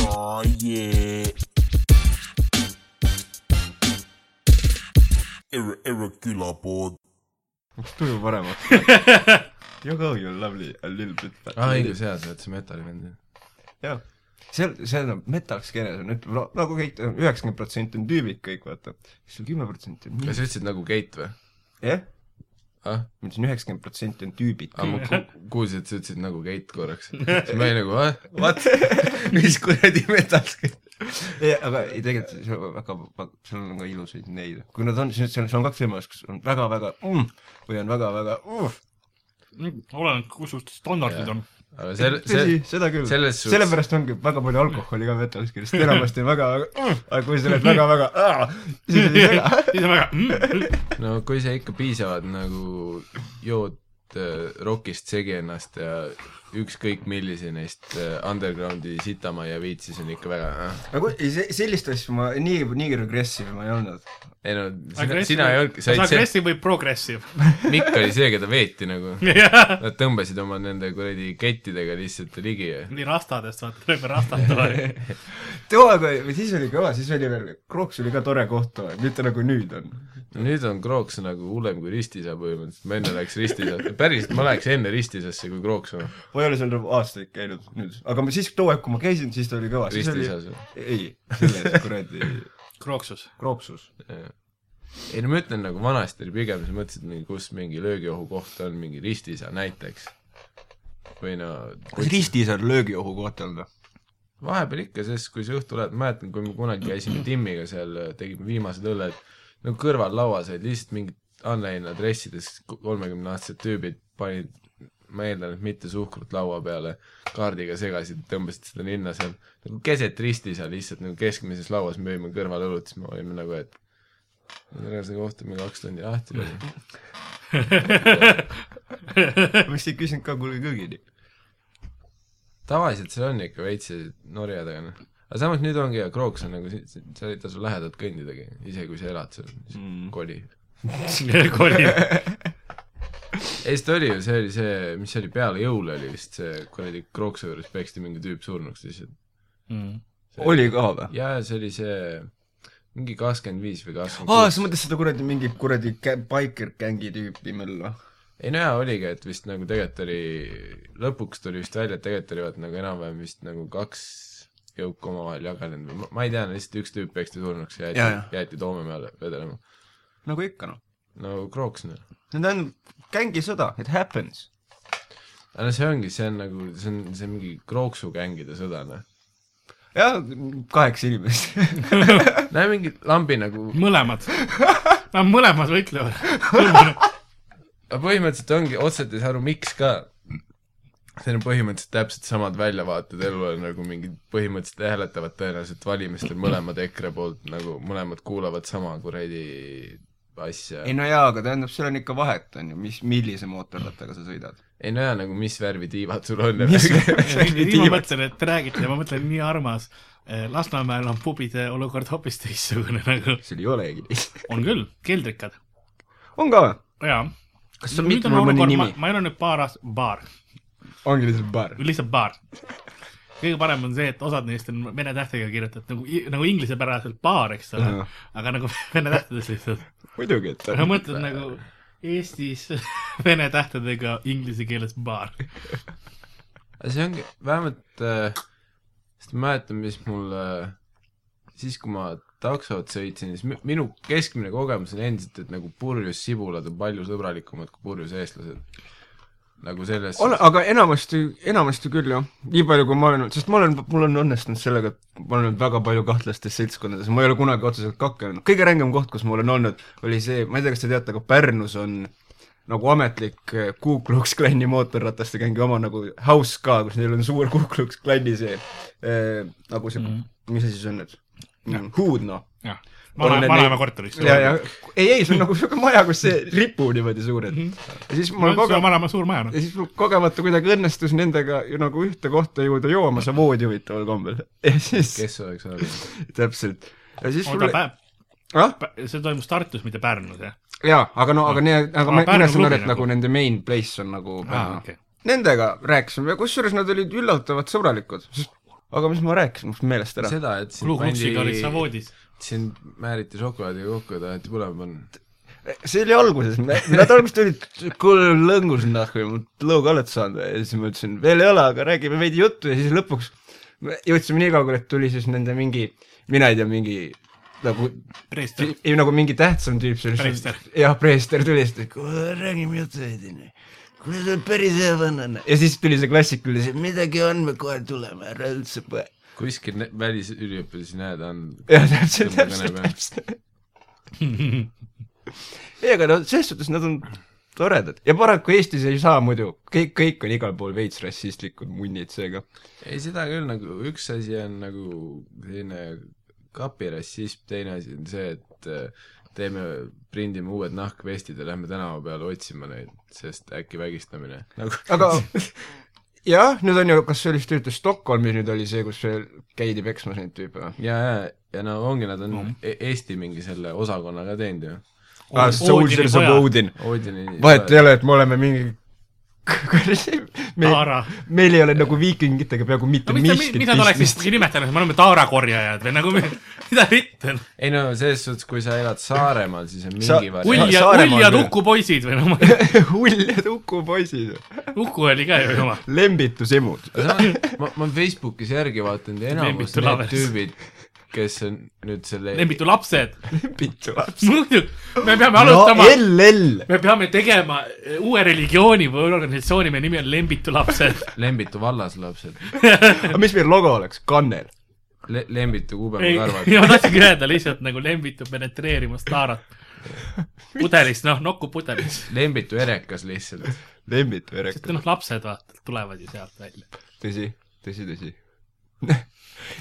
Oh yeah. Irre- irregular board. mis tuju paremaks You go you lovely a little bit aa , õigus , jaa , sa oled see metallimendi . jah , seal , seal on metal skeenes on , ütleme no, nagu kõik , üheksakümmend protsenti on tüübid kõik , vaata . siis on kümme protsenti on kas nii , sa ütlesid nagu Kate või ? jah , ah , ma ütlesin üheksakümmend protsenti on tüübid ah , ma kõik . ku- kuulsin , et sa ütlesid nagu Kate korraks . siis ma olin nagu , ah , what , mis kuradi metalski . aga ei tegelikult seal on väga , seal on ka ilusaid neid , kui nad on , siis seal , seal on kaks võimalust , kas on väga-väga mm, või on väga-väga uh, oleneb , kus sul standardid Jaa. on . aga sel- , tõsi sel- ,, seda küll . selles suhtes- sellepärast ongi väga palju alkoholi ka metal skeenes , enamasti on väga-väga uh, , aga kui sa oled väga-väga uh, , siis ei tea . siis on väga , "Mm, no kui sa ikka piisavalt nagu jood äh, rokist segi ennast ja ükskõik millise neist äh, undergroundi sitamaja viid , siis on ikka väga äh. aga kui- Nagu, ei, se- sellist asja ma nii , nii regressiivne ma ei olnud . ei no sina , sina ei olnudki , sa olid see , agressiiv või progressiiv ? Mikk oli see , keda veeti nagu . nii Nad tõmbasid oma nende kuradi kettidega lihtsalt ligi ja rastadest , vaata , tuleb rastata . too aeg oli , või siis oli kõva , siis oli veel , Krooks oli ka tore koht , mitte nagu nüüd on . nüüd on Krooks nagu hullem kui Ristisa põhimõtteliselt , ma enne läks Ristisasse , päriselt ma läheks enne Ristisasse kui Krooksu . ma ei ole seal nagu aastaid käinud nüüd , aga ma siis too aeg , kui ma käisin , siis ta oli kõva . Ristisas või ? ei , selles kuradi krooksus . Krooksus . ei no ma ütlen nagu vanasti oli pigem , sa mõtlesid mingi , kus mingi löögiohukoht on , mingi Ristisa näiteks . või no kas ristis on löögiohu koht olnud või ? vahepeal ikka , sest kui sa õhtul lähed , ma mäletan , kui me kunagi käisime Timmiga seal , tegime viimased õlled , no kõrval lauas olid lihtsalt mingid Anne-Heina dressides kolmekümneaastased tüübid panid , ma eeldan , et mitte suhkrut laua peale , kaardiga segasid , tõmbasid seda ninna seal , nagu keset risti seal lihtsalt nagu keskmises lauas me jõime kõrval õlut , siis me olime nagu , et tänase kohtume kaks tundi lahti veel . ma vist ei küsinud ka , kuulge kõigini . tavaliselt seal on ikka veits norja taga , noh . aga samas nüüd ongi hea , Krooks on nagu , seal ei tasu lähedalt kõndidagi , isegi kui sa elad seal , siis Mm. koli kolib . ei , sest oli ju , see oli see , mis see oli , peale jõule oli vist see kuradi krooksu juures peksti mingi tüüp surnuks lihtsalt . oli ka või ? ja , ja see oli see mingi kakskümmend viis või aa , kakskümmend Ah, sa mõtled seda kuradi mingit kuradi kä- biker gängi tüüpi möllu ? ei no jaa , oligi , et vist nagu tegelikult oli , lõpuks tuli vist välja , et tegelikult oli vaata nagu enam-vähem vist nagu kaks jõuku omavahel jaganenud või ma, ma ei tea , lihtsalt üks tüüp peksti surnuks ja Jaa, jaa. jäeti , jäeti toome peale vedelema . nagu ikka noh . no krooks noh . Need on gängisõda , it happens . aga no see ongi , see on nagu , see on , see on mingi krooksu gängide sõda noh . jah , kaheksa inimest . näe mingi lambi nagu mõlemad . Nad mõlemad võitlevad . aga põhimõtteliselt ongi , otseselt ei saa aru , miks ka . seal on põhimõtteliselt täpselt samad väljavaated elule nagu mingid , põhimõtteliselt hääletavad tõenäoliselt valimistel mõlemad EKRE poolt nagu mõlemad kuulavad sama kuradi asja . ei no jaa , aga tähendab , seal on ikka vahet , on ju , mis , millise mootorrattaga sa sõidad . ei no jaa , nagu mis värvi tiivad sul on . ma mõtlen , et te räägite ja ma mõtlen , nii armas . Lasnamäel on pubide olukord hoopis teistsugune nagu . seal ei olegi teist . on küll , keldrikad . on ka või ? jaa . kas on mitte mõni nimi ? ma ei ole nüüd paar aastat , baar ongi lihtsalt baar . lihtsalt baar . kõige parem on see , et osad neist on vene tähtedega kirjutatud nagu , nagu inglisepäraselt baar , eks ole , Jah. aga nagu vene tähtedes lihtsalt . muidugi , et aga mõtled nagu Eestis vene tähtedega inglise keeles baar . aga see ongi , vähemalt äh, , sest ma mäletan , mis mul äh, siis , kui ma taksot sõitsin , siis mi- minu keskmine kogemus on endiselt , et nagu purjus sibulad on palju sõbralikumad kui purjus eestlased . nagu selles ole , aga enamasti , enamasti küll jah , nii palju kui ma olen olnud , sest ma olen , mul on õnnestunud sellega , et ma olen olnud väga palju kahtlastes seltskondades , ma ei ole kunagi otseselt kaklenud , kõige rängem koht , kus ma olen olnud , oli see , ma ei tea , kas te teate , aga Pärnus on nagu ametlik eh, Ku Klux Klani mootorrataste gängi oma nagu house ka , kus neil on suur Ku Klux Klani see eh, nagu see Mhm. mm , -hmm. mis asi see on nüüd mm, , huud noh . jah , vanaema , vanaema korteris . ja , ja ei , ei , see on nagu siuke maja , kus see ripu niimoodi suur , Mhm. et ja siis mul on kogu aeg vanaema suur maja , noh ja . siis mul kogemata kuidagi õnnestus nendega ju nagu ühte kohta jõuda jooma , sa voodi huvitaval kombel . ja siis , kes oleks olnud . täpselt . ja siis oota , mul , pä- , ah , see toimus Tartus , mitte Pärnus , jah ? jaa , aga no , aga need , Aa, aga ma , Pärnu mina saan aru , klubi et nagu nagu. nende main place on nagu aa , okei . Nendega rääkisime , kusjuures nad olid üllatavalt sõbralikud , sest aga mis ma rääkisin , mul läks meelest ära . seda , et sind klubukopsiga olid sa voodis . sind määriti šokolaadiga kokku ja taheti põlema panna . see oli alguses , nad alguses tulid , kuule lõngus nahku , lõuga oled saanud või ? ja siis ma ütlesin , veel ei ole , aga räägime veidi juttu ja siis lõpuks me jõudsime nii kaugele , et tuli siis nende mingi , mina ei tea , mingi nagu , preester , ei nagu mingi tähtsam tüüp , see oli Preester. , jah , preester tuli ja siis ta ütles , kuule räägime juttu veidi onju kuule , sa oled päris hea vanane . ja siis tuli see klassikaline , midagi on , me kohe tuleme , ära üldse põe . kuskil ne- välisüliõpilasi näed , on jah , täpselt , Tõmba täpselt , kõne peale. täpselt . ei , aga no selles suhtes nad on toredad ja paraku Eestis ei saa muidu , kõik , kõik on igal pool veits rassistlikud munnid seega . ei , seda küll nagu , üks asi on nagu selline kapirassism , teine asi on see , et äh, teeme , prindime uued nahkvestid ja lähme tänava peale otsima neid , sest äkki vägistamine . nagu aga jah , nüüd on ju , kas see oli vist üldse Stockholmis nüüd oli see , kus veel käidi peksmas neid tüüpe või ? ja , ja , ja no ongi , nad on Mm. no. Eesti mingi selle osakonna ka teinud ju . aa , Soldiers of Odin . Odini vahet ei ole , et me oleme mingi meil , Taara . meil ei ole nagu viikingitega peaaegu mitte no no, mis ta , miskit mida ta oleks pistmist . ikkagi nimetanud , me oleme taarakorjajad või nagu , mida mitte . noh. ei no selles suhtes , kui sa elad Saaremaal , siis on Sa- mingi variant . Ull ja , Saaremaal Ull ja küll. Uku poisid või no ma , uljad hukupoisid , Uku oli ka ju jumal . lembitusemud . ma , ma olen Facebookis järgi vaadanud ja enamus Lembitu need laves. tüübid , kes on nüüd selle lembitu lapsed , lembitu laps . muidugi , me peame no alustama , LL . me peame tegema eh, uue religiooni või organisatsiooni , mille nimi on lembitu lapsed . Lembitu vallaslapsed aga mis meil logo oleks , kannel ? Le- , Lembitu kuubema ei , karvad ma tahtsingi öelda lihtsalt nagu lembitu penetreerimas taarat . pudelis , noh , nokupudelis . Lembitu erekas lihtsalt . Lembit või sest Rekker ? noh , lapsed vaata , tulevad ju sealt välja . tõsi , tõsi , tõsi .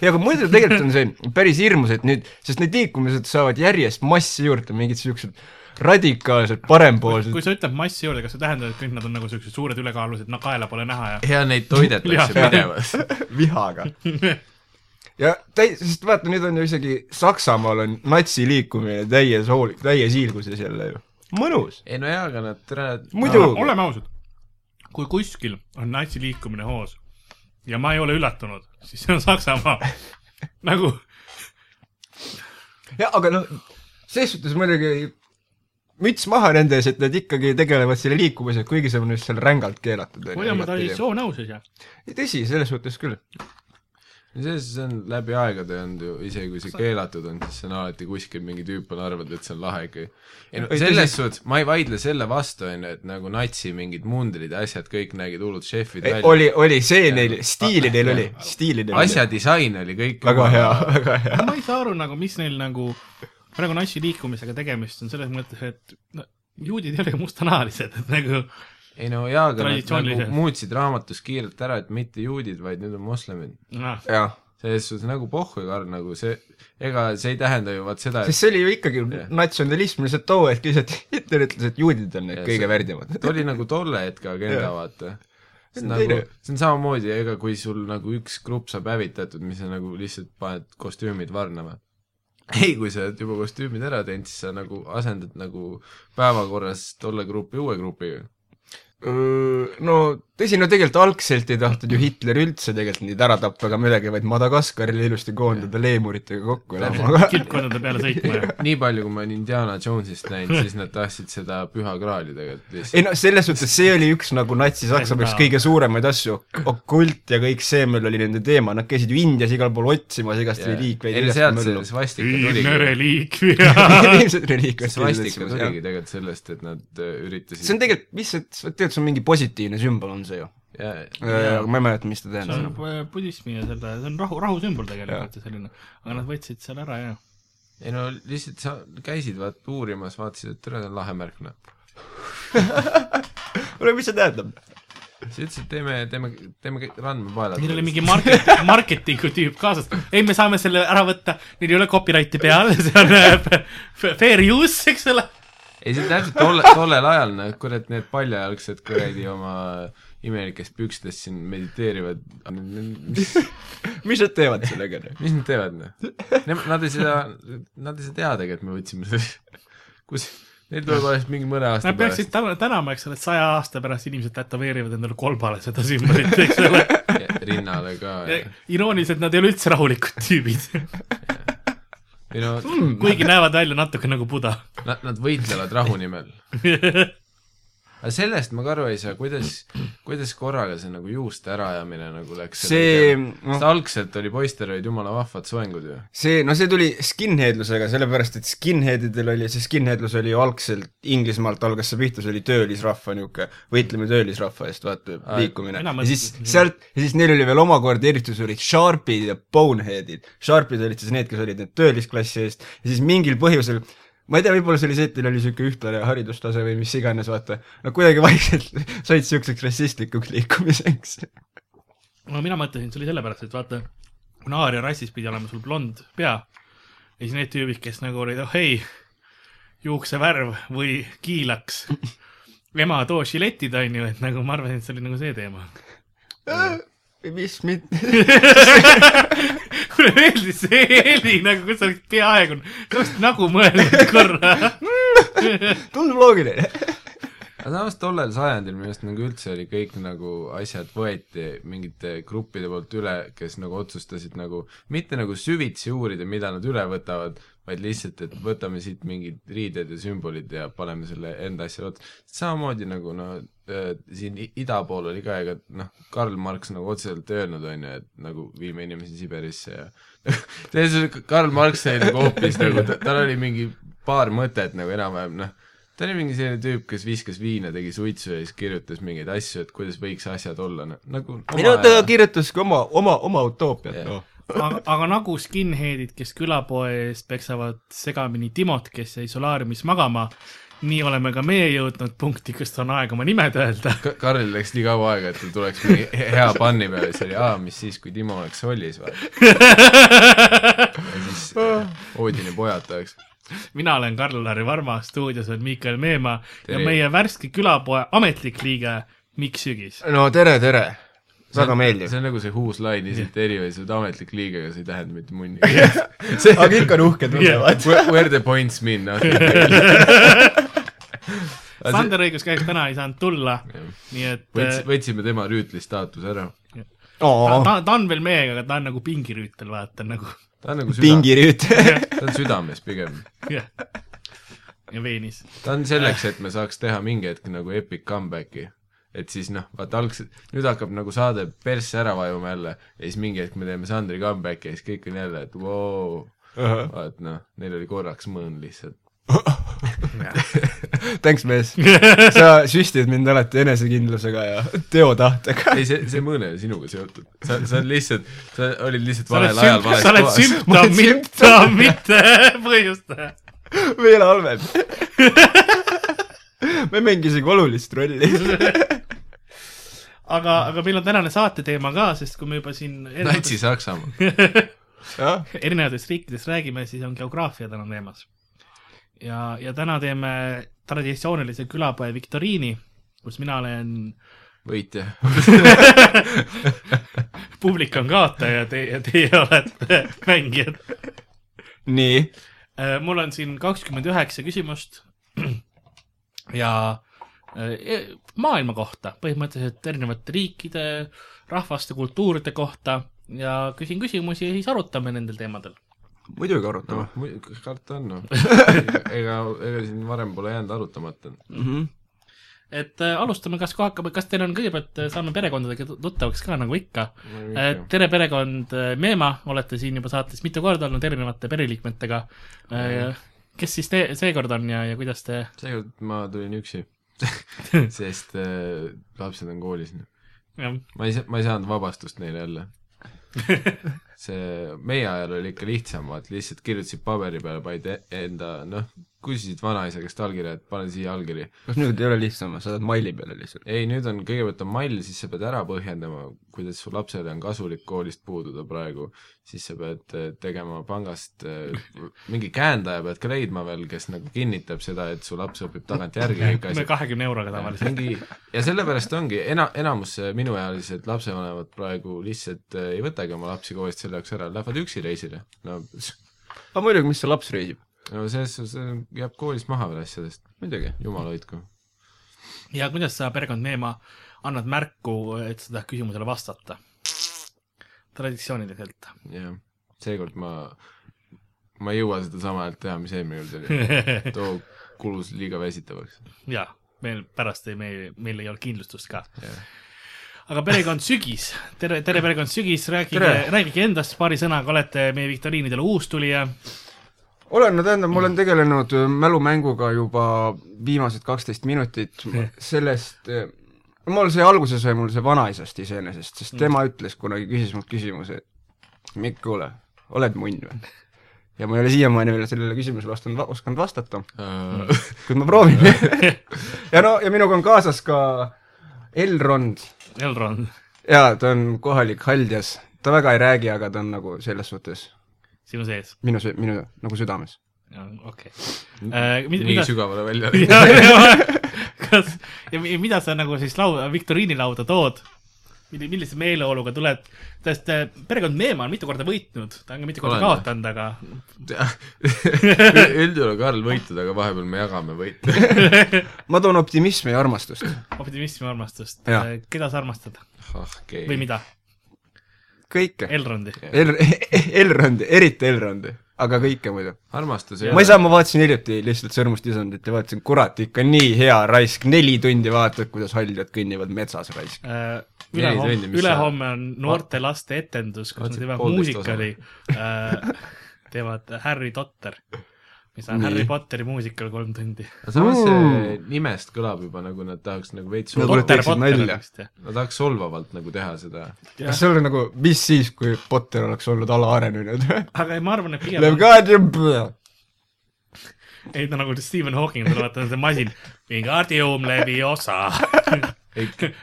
ja aga muidu tegelikult on see päris hirmus , et nüüd , sest need liikumised saavad järjest massi juurde , mingid siuksed radikaalsed parempoolsed kui . sa ütled massi juurde , kas see tähendab , et kõik nad on nagu siuksed suured ülekaalulised , no kaela pole näha ja ja neid toidetakse Jah. pidevalt . vihaga . ja täi- , sest vaata , nüüd on ju isegi Saksamaal on natsiliikumine täies hool- , täies hiilguses jälle ju . mõnus . ei no jaa , aga nad tulevad muidu Ole- oleme ausad , kui kuskil on natsiliikumine hoos ja ma ei ole üllatunud , siis see on Saksamaa . nagu , jah , aga noh , selles suhtes muidugi müts maha nende ees , et nad ikkagi tegelevad selle liikumisega , kuigi see on vist seal rängalt keelatud . kuule , ma olin soonõuses ja tõsi , selles suhtes küll . selles suhtes on läbi aegade olnud ju , isegi kui see keelatud on , siis see on alati kuskil mingi tüüp on arvanud , et see on lahe ikkagi . ei no Ei, selles tõsi. suhtes , ma ei vaidle selle vastu , on ju , et nagu natsi mingid mundrid ja asjad kõik nägid hullud šefid välja . oli , oli see neil , stiili neil oli , stiili neil oli . asja disain oli kõik väga hea , väga hea . ma ei saa aru nagu , mis neil nagu praegu natsiliikumisega tegemist on selles mõttes , et no, juudid ei ole ju mustanahalised , et nagu ei no jaa , aga nad nagu Traditsiooniliselt. muutsid raamatus kiirelt ära , et mitte juudid , vaid nüüd on moslemid . noh , jah , selles suhtes nagu pohhu , Karl , nagu see , ega see ei tähenda ju vaat seda , et sest see oli ju ikkagi Jah. natsionalism lihtsalt too hetk lihtsalt Hitler ütles , et juudid on need Jah, see- kõige värdjamad . ta oli nagu tolle hetke agenda Jah. , vaata . See see on on nagu teine. , see on samamoodi , ega kui sul nagu üks grupp saab hävitatud , mis sa nagu lihtsalt paned kostüümid varnama . ei , kui sa oled juba kostüümid ära teinud , siis sa nagu asendad nagu päevakorras tolle grupi uue grupiga . no tõsi , no tegelikult algselt ei tahtnud ju Hitler üldse tegelikult neid ära tappa ega midagi , vaid Madagaskarile ilusti koondada leemuritega kokku elama , aga kilpkondade peale sõitma ja nii palju , kui ma olen Indiana Jones'ist näinud , siis nad tahtsid seda püha kraali tegelikult ei lihtsalt . no selles suhtes see oli üks nagu Natsi-Saksamaa üks kõige suuremaid asju , okult ja kõik see , meil oli nende teema , nad käisid ju Indias igal pool otsimas igast reliikveid . ei no sealt see svastika viimne tuligi , reliikvia . ilmselt reliikveid . svastika tuligi tegelikult sellest , et nad äh, üritasid see on tegelikult , mis see , tegelikult see on mingi positiivne sümbol on see ju . jaa , aga ma ei mäleta , mis ta see on tähendab . eh, budismi ja selle , see on rahu , rahusümbol tegelikult ja selline , aga nad võtsid selle ära ja ei no lihtsalt sa käisid vaat uurimas , vaatasid , et tere , see on lahe märk , noh . kuule , mis noh? see tähendab ? sa ütlesid , teeme , teeme , teeme randmepaelad . Neil oli mingi market , marketingu tüüp kaasas , ei , me saame selle ära võtta , neil ei ole copyrighti peal , see on äh, f- f- fair use , eks ole . ei , see on täpselt tolle , tollel ajal , noh , kurat , need paljajalgsed kuradi oma imelikes pükstes siin mediteerivad , mis , mis nad teevad sellega ? mis nad teevad , noh ? Nad ei seda , nad ei saa teadagi , et me võtsime selle , kus , neil tuleb alles mingi mõne aasta Nad peaksid täna , tänama , eks ole , et saja aasta pärast inimesed tätoveerivad endale kolbale seda sümbolit , eks ole . pärast . rinnale ka . irooniliselt nad ei ole üldse rahulikud tüübid , ei no , kuigi näevad välja natuke nagu Buda . nad , nad võitlevad rahu nimel . aga sellest ma ka aru ei saa , kuidas , kuidas korraga see nagu juuste äraajamine nagu läks . See- sest algselt oli poistel olid jumala vahvad soengud ju . see , no see tuli skinheadlusega , sellepärast et skinheadidel oli , see skinheadlus oli ju algselt Inglismaalt algas see pihta , see oli töölisrahva niisugune , võitleme töölisrahva eest , vaata , Aa, liikumine . enam- ja siis sealt , ja siis neil oli veel omakorda eritus , olid sharpid ja boneheadid . Sharpid olid siis need , kes olid need töölisklassi eest ja siis mingil põhjusel ma ei tea , võib-olla see oli see , et neil oli niisugune ühtlane haridustase või mis iganes , vaata , no kuidagi vaikselt said niisuguseks rassistlikuks liikumiseks . no mina mõtlesin , see oli sellepärast , et vaata , kuna aaria rassis pidi olema sul blond pea ja siis need tüübid , kes nagu olid , oh ei , juuksevärv või kiilaks . ema too žiletid onju , et nagu ma arvasin , et see oli nagu see teema . mis mitte mulle meeldis see heli nagu , kus sa oled peaaegu , sa oled nagu mõelnud korra . tundub loogiline . aga samas tollel sajandil minu arust nagu üldse oli kõik nagu asjad võeti mingite gruppide poolt üle , kes nagu otsustasid nagu mitte nagu süvitsi uurida , mida nad üle võtavad , vaid lihtsalt , et võtame siit mingid riided ja sümbolid ja paneme selle enda asjale otsa . samamoodi nagu no äh, siin i- ida pool oli ka , ega noh , Karl Marx nagu otseselt öelnud on ju , et nagu viime inimesi Siberisse ja selles suhtes Karl Marx sai nagu hoopis nagu , tal oli mingi paar mõtet nagu enam-vähem noh ta oli mingi selline tüüp , kes viskas viina , tegi suitsu ja siis kirjutas mingeid asju , et kuidas võiks asjad olla , nagu ei no ta kirjutas ka oma , oma , oma utoopiat Jah. noh . aga , aga nagu skinhead'id , kes külapoe ees peksavad segamini Timot , kes jäi solaariumis magama , nii oleme ka meie jõudnud punkti , kus on aeg oma nimed öelda . Ka- Karlil läks nii kaua aega , et tal tuleks mingi he- hea panni peale , siis oli , aa , mis siis , kui Timo oleks sollis või ? ja siis Ah. Oodini pojad tuleks . mina olen Karl-Lari Varma , stuudios on Miikael Meemaa ja Tere. meie värske külapoe ametlik liige Mikk Sügis . no tere , tere . väga meeldiv see . on nagu see Who's Line is it anyway , sa oled ametlik liige , aga see ei tähenda mitte munnigi . see , aga ikka on uhked tunnevad . where the points mean , noh . Sander õigus käis täna , ei saanud tulla , nii et võts- , võtsime tema rüütli staatuse ära . ta, oo , ta , ta on veel meiega , aga ta on nagu pingirüütel , vaata nagu ta on nagu süda , pingirüüt . ta on südames pigem jah. ja veenis . ta on selleks , et me saaks teha mingi hetk nagu epic comeback'i . et siis noh , vaata algselt , nüüd hakkab nagu saade persse ära vajuma jälle ja siis mingi hetk me teeme Sandri comeback'i ja siis kõik on jälle , et vau , vaat noh , neil oli korraks mõõn lihtsalt . Thanks , mees . sa süstid mind alati enesekindlusega ja teotahtega . ei , see , see mõõn ei ole sinuga seotud . sa , sa oled lihtsalt , sa olid lihtsalt sa oled valel ajal vales sümp- , sa oled Ma kohas . sümptom , olen mitte , mitte põhjustaja . veel halvem . ma ei mängi isegi olulist rolli . aga , aga meil on tänane saate teema ka , sest kui me juba siin erinevates, Natsi-Saksamaa . erinevates riikides räägime , siis on geograafia täna teemas . ja , ja täna teeme traditsioonilise külapoe viktoriini , kus mina olen , võitja . publik on kaotaja , teie , teie olete mängijad . nii . Äh, mul on siin kakskümmend üheksa küsimust ja eh, maailma kohta , põhimõtteliselt erinevate riikide , rahvaste , kultuuride kohta ja küsin küsimusi ja siis arutame nendel teemadel . muidugi arutame noh , muidugi , karta on noh . ega , ega siin varem pole jäänud arutamata . mm . -hmm. et äh, alustame , kas kohe hakkame , kas teil on kõigepealt , saame perekondadega tut- tuttavaks ka nagu ikka . tere , perekond äh, Meema , olete siin juba saates mitu korda olnud erinevate pereliikmetega . kes siis te seekord on ja , ja kuidas te , seekord ma tulin üksi sest äh, lapsed on koolis noh. nüüd . jah , ma ei saa , ma ei saanud vabastust neile jälle . see , meie ajal oli ikka lihtsam , vaat lihtsalt kirjutasid paberi peale , panid e- enda noh , küsisid vanaisa käest allkirja , et pane siia allkiri . kas Noh, nüüd ei ole lihtsam , sa oled maili peale lihtsalt ? ei , nüüd on , kõigepealt on mall , siis sa pead ära põhjendama , kuidas su lapsele on kasulik koolist puududa praegu , siis sa pead eh, tegema pangast , mingi käendaja pead ka leidma veel , kes nagu kinnitab seda , et su laps õpib tagantjärgi kõik asjad . kahekümne euroga tavaliselt . mingi ja sellepärast ongi ena- , enamus minuealised lapsevanemad praegu lihtsalt äh, ei võtagi oma lapsi koolist selle jaoks ära , lähevad üksi reisile . no , aga muidugi , mis see laps reisib ? no selles suhtes äh, jääb koolist maha veel asjadest , muidugi . jumal hoidku . ja kuidas sa , perekond Meema , annad märku , et sa tahad küsimusele vastata ? traditsiooniliselt . jah , seekord ma , ma ei jõua seda sama häält teha , mis eelmine kord oli . too kulus liiga väsitavaks . jaa , meil pärast ei , meil , meil ei olnud kindlustust ka Jah. . aga perekond Sügis , tere , tere perekond Sügis , rääkige Tere! , rääkige endast paari sõnaga , olete meie viktoriinidele uustulija . olen , no tähendab , ma olen tegelenud öö, mälumänguga juba viimased kaksteist minutit , sellest , mul see alguse sai mul see vanaisast iseenesest , sest tema ütles kunagi , küsis mult küsimuse , et Mikk , kuule , oled munn või ? ja ma ei ole siiamaani veel sellele küsimusele vastanud , osanud vastata , Äh, kuid ma proovin . ja no , ja minuga on kaasas ka Elrond Elron , jaa , ta on kohalik haldjas , ta väga ei räägi , aga ta on nagu selles suhtes sinu sees . minu , minu nagu südames . okei . nii mida , sügavale välja . kas ja mi- mida sa nagu siis laua , viktoriinilauda tood ? millise meeleoluga tuled , sest äh, perekond Meemaa on mitu korda võitnud , ta on ka mitu korda Olen. kaotanud , aga üldjuhul on Karl võitnud , aga vahepeal me jagame võite . ma toon optimismi ja armastust . optimismi ja armastust Äh, Jah. . keda sa armastad ah , okei või . mida ? kõike . Elrondi . El- , Elrondi , eriti Elrondi , aga kõike muidu . armastus ma ei saa , ma vaatasin hiljuti lihtsalt Sõrmust isandit ja vaatasin , kurat , ikka nii hea raisk , neli tundi vaatad , kuidas haljad kõnnivad metsas raisk . Neli ülehomme tundi, , mis sa- Äh, ülehomme on noorte laste etendus , kus nad Vaatasid teevad poolteist muusikali , teevad Harry Potter , mis on Nii. Harry Potteri muusikal kolm tundi . aga samas see Mm. nimest kõlab juba nagu nad tahaks nagu veits Nad solvavalt , teeksid nalja. nad tahaks solvavalt nagu teha seda . kas see oleks nagu , mis siis , kui Potter oleks olnud alaarenenud ? aga ei, ma arvan , et Läheb pigem , Guardian , ei ta nagu Stephen Hawking , vaata see masin , Wingardium Leviosa .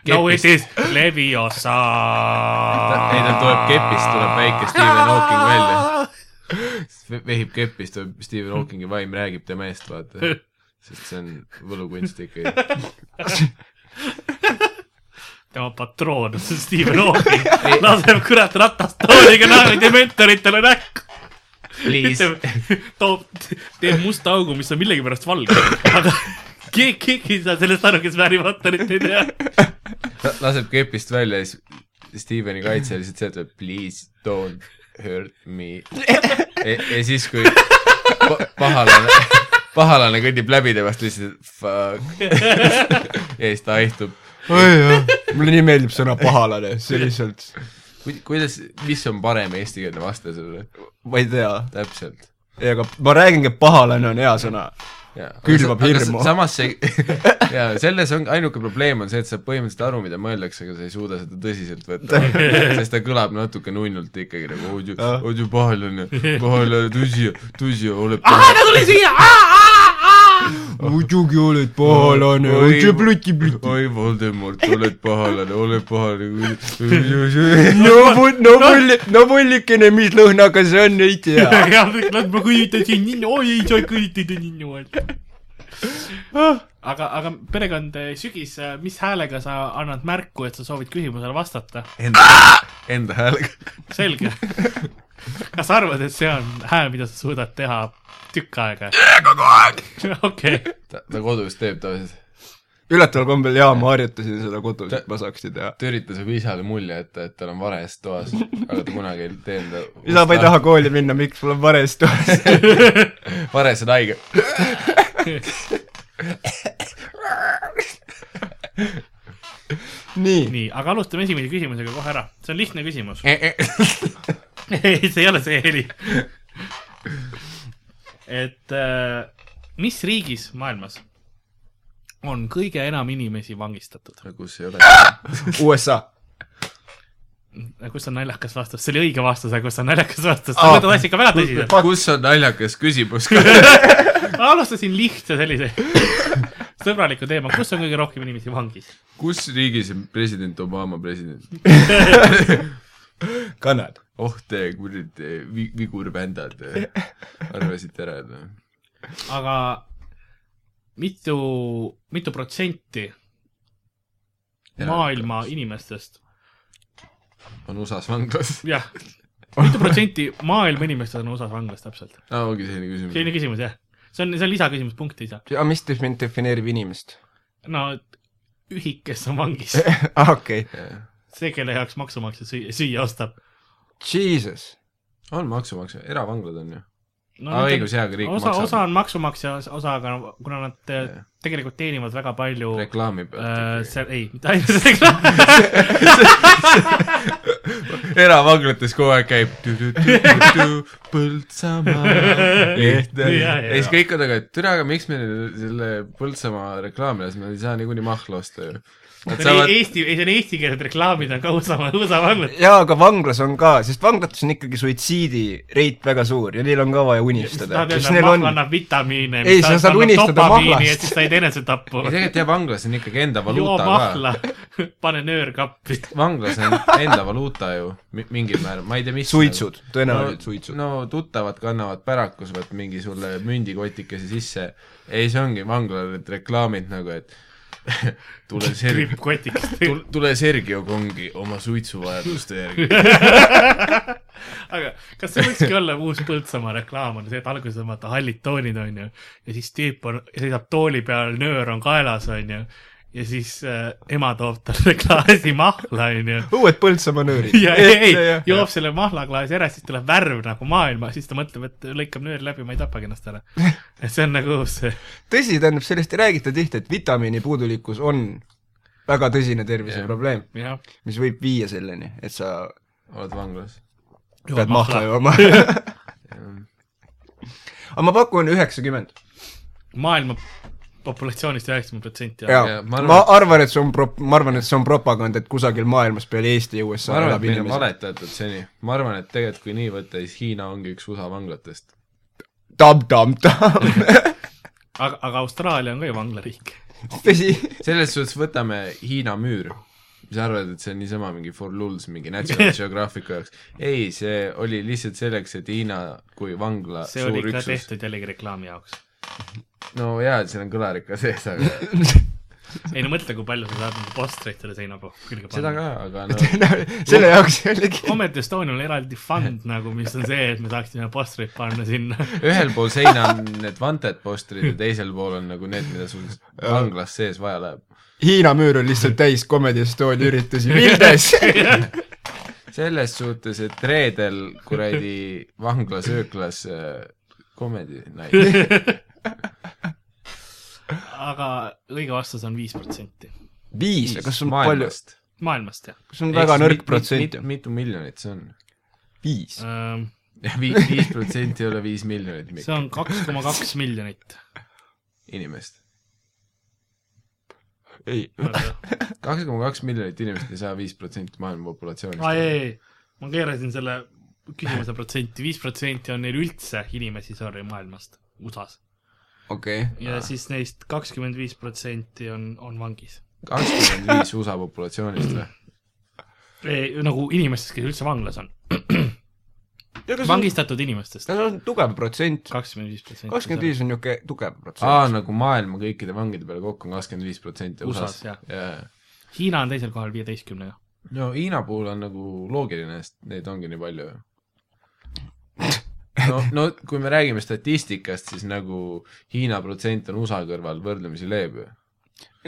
No it is Leviosa . ei , tal tuleb kepist , tuleb väike Stephen Hawking välja . vehib kepis , tuleb Stephen Hawkingi vaim räägib tema eest , vaata . sest see on võlukunst ikkagi . tema patroon on see Stephen Hawking , laseb kurat ratast tooliga naerud ja mentoritele näkku . Please . toob , teeb musta augu , mis on millegipärast valge , aga keegi , keegi ei saa sellest aru , kes Harry Potterit ei tea . laseb kepist välja ja siis Steveni kaitse lihtsalt sealt tuleb please don't hurt me . ja siis , kui pa- pahalane , pahalane kõnnib läbi temast lihtsalt fuck . ja siis ta aihtub . mulle nii meeldib sõna pahalane , see lihtsalt , kuidas , mis on parem eestikeelne vaste sellele ? ma ei tea täpselt . ei , aga ma räägingi , et pahalane on hea sõna . Külvab hirmu. samas see , jaa , selles on , ainuke probleem on see , et sa põhimõtteliselt aru , mida mõeldakse , aga sa ei suuda seda tõsiselt võtta . sest ta kõlab natuke nunnult ikkagi nagu oled ju , Jah. oled ju pahalane , pahalane , tõsi , tõsi , oled aa , pahalane . ta tuli siia , muidugi oled pahalane , oled sa plüti-plüti . oi , Voldemort , oled pahalane , oled pahalane . no pull , no pull , no pullikene , mis lõhnaga see on , ei tea . aa . ma kujutasin ninnu , oi ei saa kujutada ninnu . aga , aga perekond eh, Sügis , mis häälega sa annad märku , et sa soovid küsimusele vastata ? Enda , enda häälega . selge . kas sa arvad , et see on hääl , mida sa suudad teha tükk aega ? kogu aeg . okei , ta , ta kodus teeb tavaliselt . üllataval kombel jaa , ma harjutasin seda kodus , et ma saaksin teha . ta üritas nagu isale mulje jätta , et tal on vares toas , aga ta kunagi ei tee enda . isa , ma ei taha . kooli minna , miks mul on vares toas . vares on haige . nii , nii , aga alustame esimese küsimusega kohe ära , see on lihtne küsimus . see ei , see ei ole see heli . et äh, mis riigis maailmas on kõige enam inimesi vangistatud ? kus ei ole . USA . kus on naljakas vastus , see oli õige vastus , aga kus on naljakas vastus ? Aa. sa võtad asja ikka väga tõsiselt . kus on naljakas küsimus ? ma alustasin lihtsa sellise sõbraliku teema , kus on kõige rohkem inimesi vangis ? kus riigis on president Obama president ? Kanada . oh te kuradi vi- vigurvändad , arvasite ära , et noh . aga mitu , mitu protsenti maailma inimestest , on USA-s vanglas . jah , mitu protsenti maailma inimestest on USA-s vanglas täpselt ? aa , ongi selline küsimus . selline küsimus jah , see on , see on lisaküsimus , punkti ei saa . ja mis def- mind defineerib inimest ? no ühik , kes on vangis , ah , okei . see , kelle jaoks maksumaksja süüa , süüa ostab . Jesus . on maksumaksja , eravanglad on ju . Aga no, nad on- õigus, jaa, aga riik osa , maksab. osa on maksumaksja os- osa , aga no kuna nad eh, Jah. tegelikult teenivad väga palju reklaami Oh. äh, pealt . seal , ei , mitte ainult reklaam , eravanglates kogu aeg käib tu-tu-tu-tu-tu, Põltsamaa lihtne . ja Jaa, jaa. siis kõik on aga , et türa , aga miks me selle Põltsamaa reklaami ees , me ei saa niikuinii mahla osta ju . Nad saavad , Eesti , ei see on eestikeelsed reklaamid on ka USA , USA vanglad . jaa , aga vanglas on ka , sest vanglates on ikkagi suitsiidireit väga suur ja neil on ka vaja unistada . tahad kas öelda , et neil mahla on , annab vitamiine , Ei, sa saad unistada mahlast. et siis said enesetappu . ei tegelikult jah , vanglas on ikkagi enda joo valuuta ka . mahla , pane nöör kappi . vanglas on enda valuuta ju mi- mingil määral , ma ei tea , mis . suitsud , tõenäoliselt suitsud . no tuttavad kannavad pärakus , vot mingi sulle mündikotikese sisse . ei , see ongi vanglal need reklaamid nagu , et tule Sergio , krippkotikest . tule Sergio Kongi oma suitsuvajaduste järgi . aga kas see võikski olla uus Põltsamaa reklaam , on see , et alguses on vaata hallid toonid , on ju , ja siis tüüp on , seisab tooli peal , nöör on kaelas , on ju , ja siis äh, ema toob talle klaasi mahla , on ju . õued Põltsamaa nöörid . ja ei , ei , joob selle mahlaklaasi ära , siis tuleb värv nagu maailma , siis ta mõtleb , et lõikab nöör läbi , ma ei tapagi ennast ära . et see on nagu uus , tõsi , tähendab , sellest ei räägita tihti , et vitamiini puudulikkus on väga tõsine terviseprobleem , jah . mis võib viia selleni , et sa oled vanglas ? pead mahla jooma . aga ma pakun üheksakümmend . maailma populatsioonist üheksakümmend protsenti . jaa Jaa, , ma arvan- ma arvan , et see on pro- , ma arvan , et see on propaganda , et kusagil maailmas peale Eesti ja ma USA arvan , elab et meil on inimesi . valetatud seni . ma arvan , et tegelikult kui nii võtta , siis Hiina ongi üks USA vanglatest . tamm-tamm-tamm , aga , aga Austraalia on ka ju vanglariik . tõsi . selles suhtes võtame Hiina müür . mis sa arvad , et see on niisama mingi for lulz , mingi National Geographicu jaoks ? ei , see oli lihtsalt selleks , et Hiina kui vangla see Ah, suur oli ka üksus . tehtud jällegi reklaami jaoks . no jaa , et seal on kõlarika sees , aga ei no mõtle , kui palju sa saad nagu postreid selle seina po- külge seda panna . ka , aga no selle jaoks jällegi . Comedy Estonial on eraldi fond nagu , mis on see , et me saaksime postreid panna sinna . ühel pool seina on need wanted postrid ja teisel pool on nagu need , mida sul vanglas sees vaja läheb . Hiina müür on lihtsalt täis Comedy Estonia üritusi , Vildes . selles suhtes , et reedel kuradi äh, vanglas ööklas komedi naine . aga õige vastus on viis protsenti viis , kas on palju , maailmast jah kas on väga nõrk protsent ? mitu miljonit see on ? viis . Ehm, viis , viis protsenti ei ole viis miljonit Mikk, see on kaks koma kaks miljonit . inimest . ei , kaks koma kaks miljonit inimest ei saa viis protsenti maailma populatsioonist . ai ei , ma keerasin selle küsimuse protsenti , viis protsenti on neil üldse inimesi , sorry , maailmast , USA-s . okei . ja siis neist kakskümmend viis protsenti on , on vangis . kakskümmend viis USA populatsioonist või ? nagu inimestest , kes üldse vanglas on , kas on , vangistatud inimestest , kas on tugev protsent ? kakskümmend viis protsenti . kakskümmend viis on niisugune tugev protsent . aa , nagu maailma kõikide vangide peale kokku on kakskümmend viis protsenti USA-s, USA-s . jah. jaa . Hiina on teisel kohal viieteistkümnega . no Hiina puhul on nagu loogiline , sest neid ongi nii palju ju . no , no kui me räägime statistikast , siis nagu Hiina protsent on USA kõrval võrdlemisi leeb ju .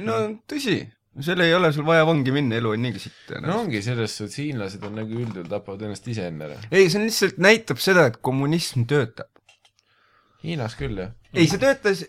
no tõsi , seal ei ole sul vaja vangi minna , elu on niigi sitt no . ongi selles suhtes , hiinlased on nagu üldjuhul tapavad ennast ise enne ära . ei , see on lihtsalt näitab seda , et kommunism töötab . Hiinas küll jah . ei , Mm. see töötas ,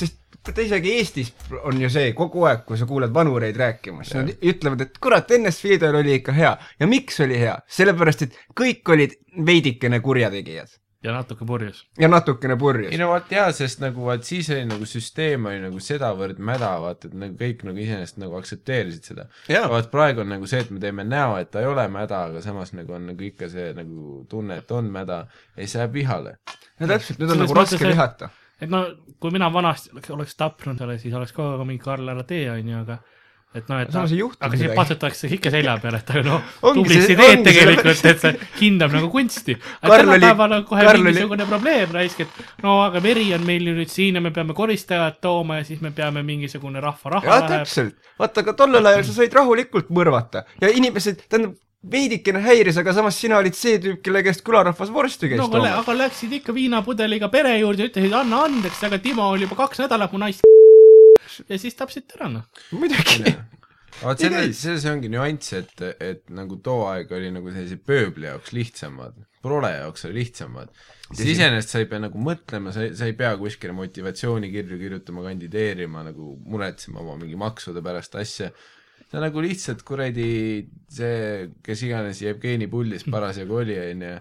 sest vaata isegi Eestis on ju see kogu aeg , kui sa kuuled vanureid rääkimas , nad ütlevad , et kurat , NSV Liidul oli ikka hea ja miks oli hea , sellepärast et kõik olid veidikene kurjategijad ja natuke purjus . ja natukene purjus ei . no vaat jaa , sest nagu vaat siis oli nagu süsteem oli nagu sedavõrd mäda , vaata et nagu kõik nagu iseenesest nagu aktsepteerisid seda . Jaa. vaat praegu on nagu see , et me teeme näo , et ta ei ole mäda , aga samas nagu on nagu ikka see nagu tunne , et on mäda ja siis läheb vihale . no täpselt , nüüd on Selles nagu raske mõttes, et- vihata . et no kui mina vanasti oleks- oleks tapnud selle , siis oleks kogu aeg mingi Karl ära tee , on ju , aga et noh , et Samas ei juhtunud aga siis midagi. patsutakse ikka selja peale , et aga noh , Ongi tublisti see- teed ongi tegelikult , et see hindab nagu kunsti . aga Karl oli- tänapäeval on kohe Karl oli- mingisugune probleem raisk , et no aga veri on meil ju nüüd siin ja me peame koristajad tooma ja siis me peame mingisugune rahva raha jah , täpselt . vaata , aga tollel ajal sa said rahulikult mõrvata ja inimesed , tähendab , veidikene häiris , aga samas sina olid see tüüp , kelle käest külarahvas vorsti käis no aga, lä- toomas . aga läksid ikka viinapudeliga pere juurde , ütlesid anna andeks , aga Timo oli juba kaks nädalat mu naist ja siis tapsid ära noh . muidugi . vot Ei selles , käis. selles ongi nüanss , et , et nagu too aeg oli nagu sellise pööbli jaoks lihtsamad , prole jaoks oli lihtsamad . siis iseenesest sa ei pea nagu mõtlema , sa ei , sa ei pea kuskile motivatsioonikirju kirjutama , kandideerima nagu muretsema oma mingi maksude pärast asja . sa nagu lihtsalt kuradi see , kes iganes Jevgeni pullis parasjagu oli , onju .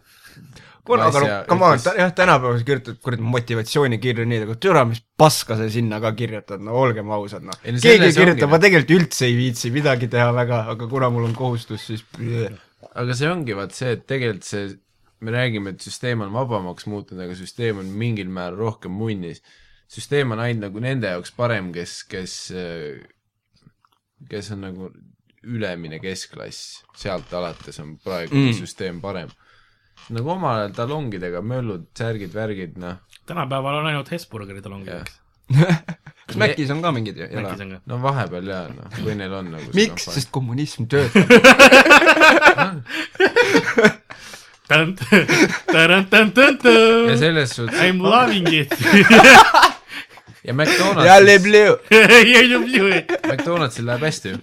kuule , aga come on , jah , tänapäeval kirjutad kuradi motivatsioonikirju nii , aga türa , mis paska sa sinna ka kirjutad , no olgem ausad , noh . Ei no keegi selles ei kirjuta , ongi, ma noh. tegelikult üldse ei viitsi midagi teha väga , aga kuna mul on kohustus , siis aga see ongi vaat see , et tegelikult see , me räägime , et süsteem on vabamaks muutunud , aga süsteem on mingil määral rohkem munnis . süsteem on ainult nagu nende jaoks parem , kes , kes , kes on nagu ülemine keskklass , sealt alates on praegune Mm. mm. süsteem parem . nagu omal ajal talongidega möllud , särgid , värgid , noh , tänapäeval on ainult Hesburgeri talongid , Jah. eks . kas Mäkis on ka mingid jala Mäkis ? on ka . no vahepeal jaa , noh , kui neil on nagu miks , sest kommunism töötab . ja I selles suhtes , m loving it . ja jälle McDonald's , blöö . McDonald'sil läheb hästi ju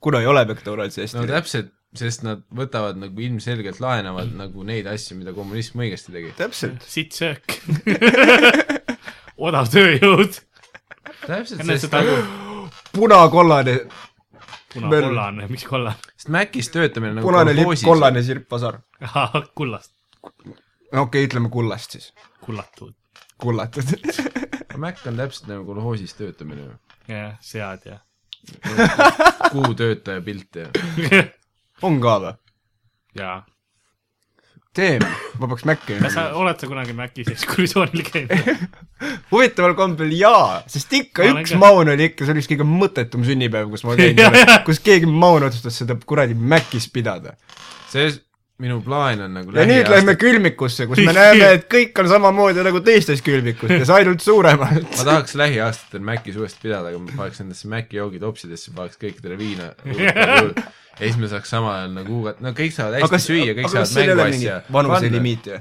kuna ei ole McDonaldsi hästi no . täpselt , sest nad võtavad nagu ilmselgelt laenavad nagu neid asju , mida kommunism õigesti tegi . täpselt . sitt söök . odav tööjõud . täpselt , enne sest seda nagu , punakollane , Möll. punakollane , miks kollane ? sest Macis töötamine nagu punane lipp , kolhoosis- kollane sirppasar . kullast , no okei okay, , ütleme kullast siis . kullatud . kullatud . Mac on täpselt nagu kolhoosis töötamine ju . jah , sead ja . kuutöötaja pilt ja on ka või ? jaa . teeme , ma peaks Maci kas sa , oled sa kunagi Macis ekskursioonil käinud ? huvitaval kombel jaa , sest ikka Ma olen üks ka. maun oli ikka , see oli üks kõige mõttetum sünnipäev , kus ma käin , kus keegi maun otsustas seda kuradi Macis pidada . see , minu plaan on nagu ja nüüd lähme külmikusse , kus me näeme , et kõik on samamoodi nagu teistes külmikutes , ainult ma suuremalt . tahaks lähiaastatel Macis uuesti pidada , aga ma paneks endasse Maci joogitopsidesse , paneks kõikidele viina ja siis me saaks samal ajal nagu uued , no kõik saavad hästi süüa , kõik saavad mänguasja . vanuselimiit ju ?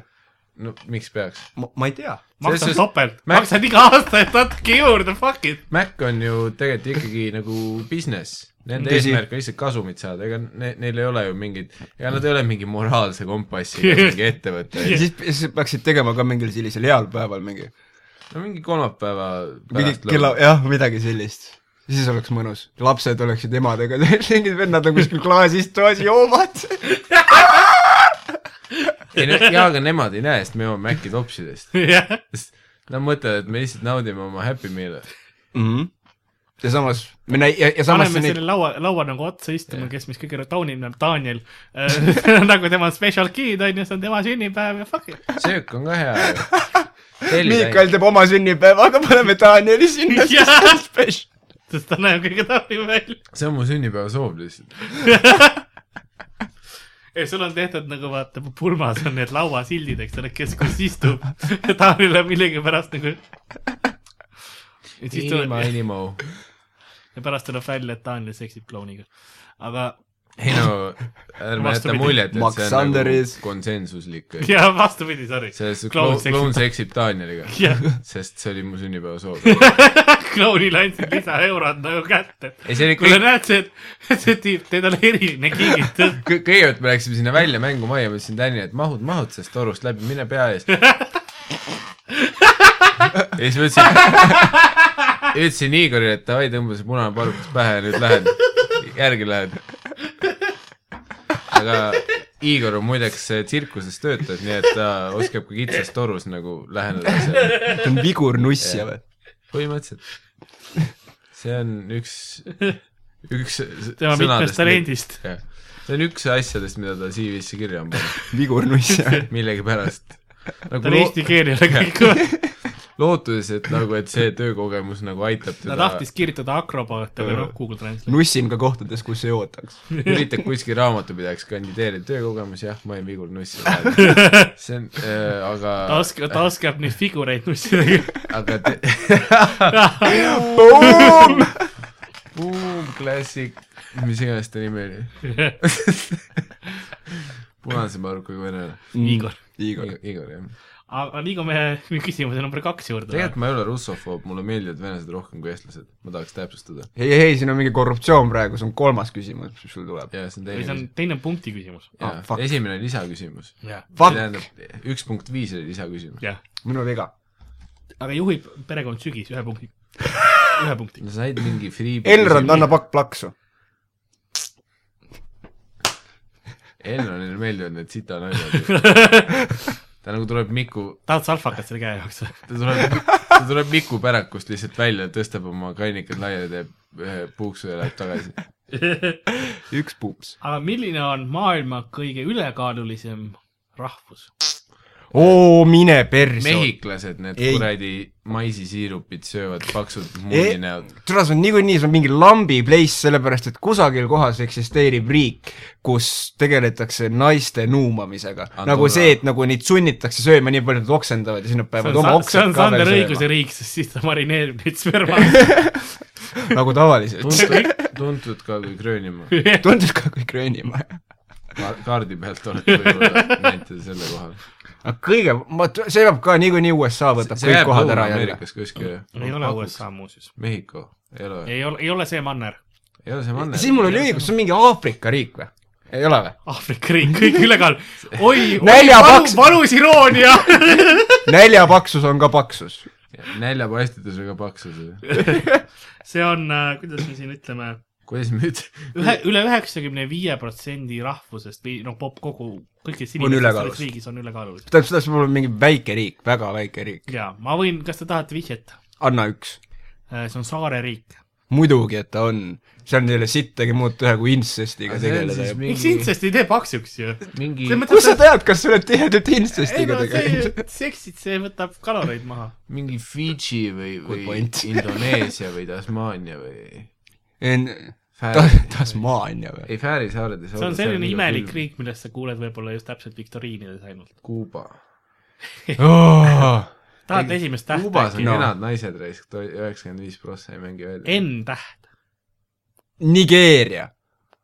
no miks peaks ? ma , ma ei tea . maksad Selles- topelt , Mac- maksad iga aasta , et natuke juurde , fuck it . Mac on ju tegelikult ikkagi nagu business , nende Tõsi. Tõsi. eesmärk on lihtsalt kasumit saada , ega ne, neil ei ole ju mingit , ega nad ei ole mingi moraalse kompassiga mingi ettevõte , ja siis , siis peaksid tegema ka mingil sellisel heal päeval mingi , no mingi kolmapäeva mingi kella , jah , midagi sellist siis oleks mõnus , lapsed oleksid emadega , mingid vennad on kuskil klaasis toas joomad . jaa , aga nemad ei näe , sest me joome Maci topsidest . jah , Nad mõtlevad , et me lihtsalt naudime oma Happy Meal'e . Mhm. ja samas , me näi- , ja , ja samas paneme see selle neid , laua , laua nagu otsa istuma , kes mis kõige taunib , on Daniel . nagu tema special kid on ju , see on tema sünnipäev ja fuck it . söök on ka hea . Miikal teeb oma sünnipäevaga , paneme Danieli sinna , siis Jah. on spets- . sest ta näeb kõige taunim välja . see on mu sünnipäeva soov lihtsalt . ei , sul on tehtud nagu vaata , pulmas on need lauasildid , eks ole , kes kus istub . ja Daniel on millegipärast nagu . ja siis tuleb inima , inimo . ja pärast tuleb välja , et Daniel seksib klouniga . aga , ei no , ärme jäta Vastupidi. muljet , et Max see on nagu Sanderis. konsensuslik . ja vastupidi , sorry . selles Kloun kloun , seksib- kloun seksib Danieliga . jah , sest see oli mu sünnipäeva soov . klounile andsid lisaeurod nagu kätte . ei , see oli kuule , kõik , näed see , see tüüp , teil on eriline kingitus . kõigepealt me läksime sinna välja mängumajja , ma ütlesin Tänile , et mahud , mahud sellest torust läbi , mine pea ees . ja siis ma ütlesin , ütlesin Igorile , et davai , tõmba see punane palukas pähe ja nüüd lähed , järgi lähed . aga Igor on muideks eh, tsirkuses töötab , nii et ta oskab ka kitsas torus nagu läheneda asjale , ta on vigur nussja või ? põhimõtteliselt . see on üks , üks s- tema mitmest sõnadest, mida- talendist . jah , see on üks asjadest , mida ta CV-sse kirja on pannud , vigur nussja . millegipärast . nagu tal loo- eesti keel ei ole kõik . lootuses , et nagu , et see töökogemus nagu aitab ta teda . tahtis kirjutada akrobaate või noh , Google Translate . nussin ka kohtades , kus ei ootaks . üritab kuskil raamatupidajaks kandideerida , töökogemus jah , ma olin Vigul Nuss . see on äh, , ta aga , oskab , ta oskab neid figureid nussida . aga te... Boom Classic , mis iganes ta nimi oli , punase markaga venelane , Igor , Mm. Igor . Igor jah . aga liigume küsimuse number kaks juurde . tegelikult ma ei ole russofoob , mulle meeldivad venelased rohkem kui eestlased , ma tahaks täpsustada . ei , ei , siin on mingi korruptsioon praegu , see on kolmas küsimus , mis sul tuleb . jaa , see on või see on teine . teine punkti küsimus . ah, fuck. esimene oli lisaküsimus . jah , Fuck. üks punkt viis oli lisaküsimus . jah , minu viga . aga juhib perekond Sügis ühe punkti , ühe punkti . no said mingi free Elrond annab hakk plaksu . Elronile meeldivad need sita naljad . ta nagu tuleb Miku , tahad salfakat selle käe jaoks ? ta tuleb , ta tuleb Miku pärakust lihtsalt välja , tõstab oma kannikad laiali , teeb ühe puuksu ja läheb tagasi . üks puups . aga milline on maailma kõige ülekaalulisem rahvus ? oo , mine perse . mehhiklased , need Ei. kuradi maisisiirupid söövad paksud mullinäod . tule , see on niikuinii , see on mingi lambi place , sellepärast et kusagil kohas eksisteerib riik , kus tegeletakse naiste nuumamisega . nagu Andorra. see , et nagu neid sunnitakse sööma nii palju , et nad oksendavad ja siis nad see peavad oma on, Sa- see oksed on ka Sander veel õiguse sööma . riik , sest siis ta marineerib neid sperma . nagu tavaliselt . tuntud , tuntud ka kui Gröönimaa . tundus ka kui Gröönimaa . kaardi pealt olete võib-olla näite selle kohal . aga kõige , ma , see jääb ka niikuinii USA võtab see kõik jääb kohad ära jälle . Lõuna-Ameerikas kuskil , jah ? ei ole USA muuseas . Mehhiko , ei ole , ei ole , ei ole see manner . ei ole see manner . siis mul oli õigus , see on mingi Aafrika riik või ? ei ole või ? Aafrika riik , kõik ülekaal . oi , oi , Näljapaks- valus , valus iroonia . näljapaksus on ka paksus . näljapaistitusega paksus . see on , kuidas me siin ütleme , kuidas me üt- , ühe , üle üheksakümne viie protsendi rahvusest või noh , pop kogu , kõikidest On inimestest ülekaalus. selles riigis on ülekaalulised . tähendab , seda saab olla mingi väike riik , väga väike riik . jaa , ma võin , kas te tahate vihjet ? anna üks . see on saareriik . muidugi , et ta on , seal ei ole sittagi muud teha kui intsestiga Aga see on tegeleda siis ja mi- miks intsest ei tee paksuks ju ? mingi See mõte- kus sa tead , kas sa oled tihedalt ei intsestiga no see tegelenud ?, seksid , see võtab kaloreid maha . mingi Fidži või , Good või point. Indoneesia või Tasmaania või ta Fääri ., Tasmaania või ? ei , Fääri saared ei saa see on selline imelik riik , millest sa kuuled võib-olla just täpselt viktoriinides ainult . Kuuba . tahate esimest tähte Kuubas on äkki No. no. ? kenad naised raisk , üheksakümmend viis prossa ei mängi välja . N täht Nigeeria .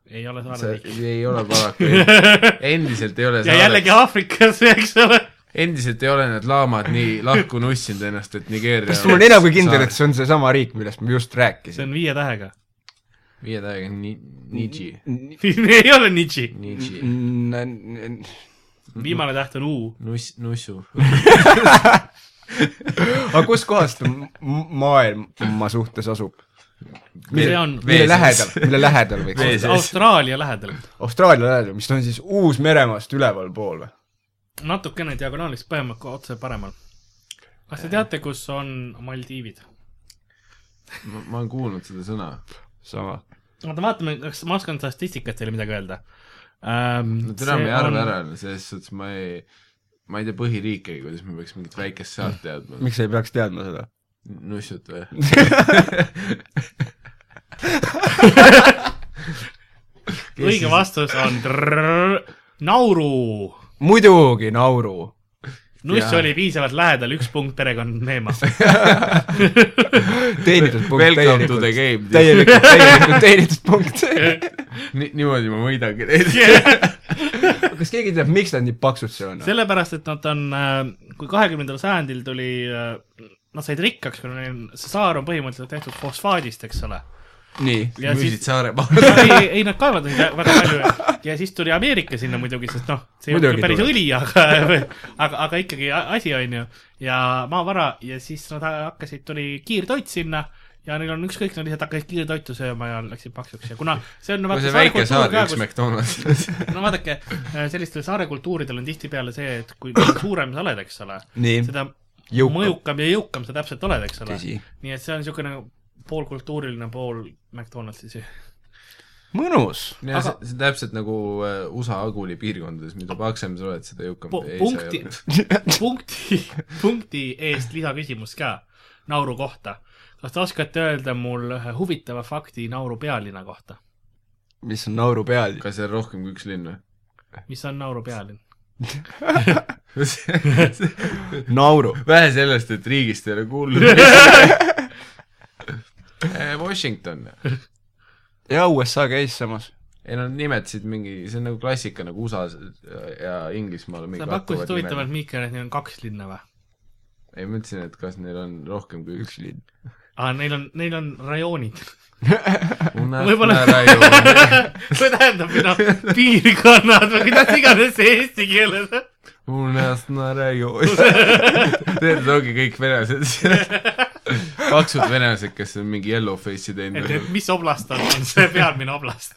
ei ole see saareriik . ei ole paraku , endiselt ei ole ja jällegi saared , Aafrikas , eks ole . endiselt ei ole need laamad nii lahku nussinud ennast , et Nigeeria kas sul on enam kui kindel , et see on seesama riik , millest ma just see rääkisin ? on viie tähega . viie täiega ni- , Niji , ei ole Nietzsche , Niji , viimane täht on U . nuss , nussu . aga kuskohast ta m- maailma suhtes asub ? see on mille lähedal , mille lähedal võiks Vee olla ? sees. Austraalia lähedal . Austraalia lähedal , mis on siis Uus-Meremaast ülevalpool või ? natukene diagonaalist põemal , otse paremal . kas te teate , kus on Maldiivid ? ma ma olen kuulnud seda sõna . sama . oota , vaatame , kas ma oskan statistikat teile midagi öelda no ähm, täna ma ei arva ära , selles suhtes ma ei , ma ei tea põhiriikegi , kuidas ma peaks mingit väikest saart teadma . miks sa ei peaks teadma seda ? nussut või ? õige vastus on trrrr, Nauru . muidugi , Nauru . nuss Jaa. oli piisavalt lähedal , üks punkt perekond Neema . teenitud punkt Welcome to täielikult . the game . täielikult , täielikult teenitud punkt . Ni- , niimoodi ma võidangi neid . kas keegi teab , miks nad nii paksud seal on ? sellepärast , et nad on , kui kahekümnendal sajandil tuli , nad said rikkaks , kuna neil , see saar on põhimõtteliselt tehtud fosfaadist , eks ole . nii . ja müüsid siis , Saaremaale . ei , ei nad kaevandasid vä- väga palju ja siis tuli Ameerika sinna muidugi , sest noh , see ei olnud Muidugi küll päris tuli. õli , aga , aga , aga ikkagi a- asi on ju . ja maavara ja siis nad hakkasid , tuli kiirtoit sinna ja neil on ükskõik , nad lihtsalt hakkasid kiirtoitu sööma ja läksid paksuks ja kuna see on . no see väike saar , üks McDonalds . no vaadake , sellistel saare kultuuridel on tihtipeale see , et kui mida suurem sa oled , eks ole , Nii. seda Jõukam. jõukam. mõjukam ja jõukam sa täpselt oled , eks ole Tõsi. . nii et see on niisugune poolkultuuriline , pool McDonaldsi see . mõnus . jah , see see on täpselt nagu äh, USA Aguli piirkondades , mida paksem sa oled , seda jõukam Po- ei saa punkti olla ., punkti , punkti eest lisaküsimus ka Nauru kohta . kas te oskate öelda mul ühe huvitava fakti Nauru pealinna kohta ? mis on Nauru peal ? kas seal on rohkem kui üks linn või ? mis on Nauru pealinn ? Nauru . vähe sellest , et riigist ei ole kuulnud . Washington . ja USA käis samas . ei nad nimetasid mingi , see on nagu klassika nagu USA-s ja Inglismaal sa mingi pakkusid hakkavad huvitavalt , nimed- Miikel , et neil on kaks linna või ? ei , ma ütlesin , et kas neil on rohkem kui üks linn . aa , Ah, neil on , neil on rajoonid . Võib-olla- raiu . see tähendab , et noh , piirkonnad või kuidas iganes see eesti keeles . Unasna raiu . Need ongi kõik venelased . paksud venelased , kes on mingi yellow face'i et , teinud et . mis oblast on , on see pealmine oblast .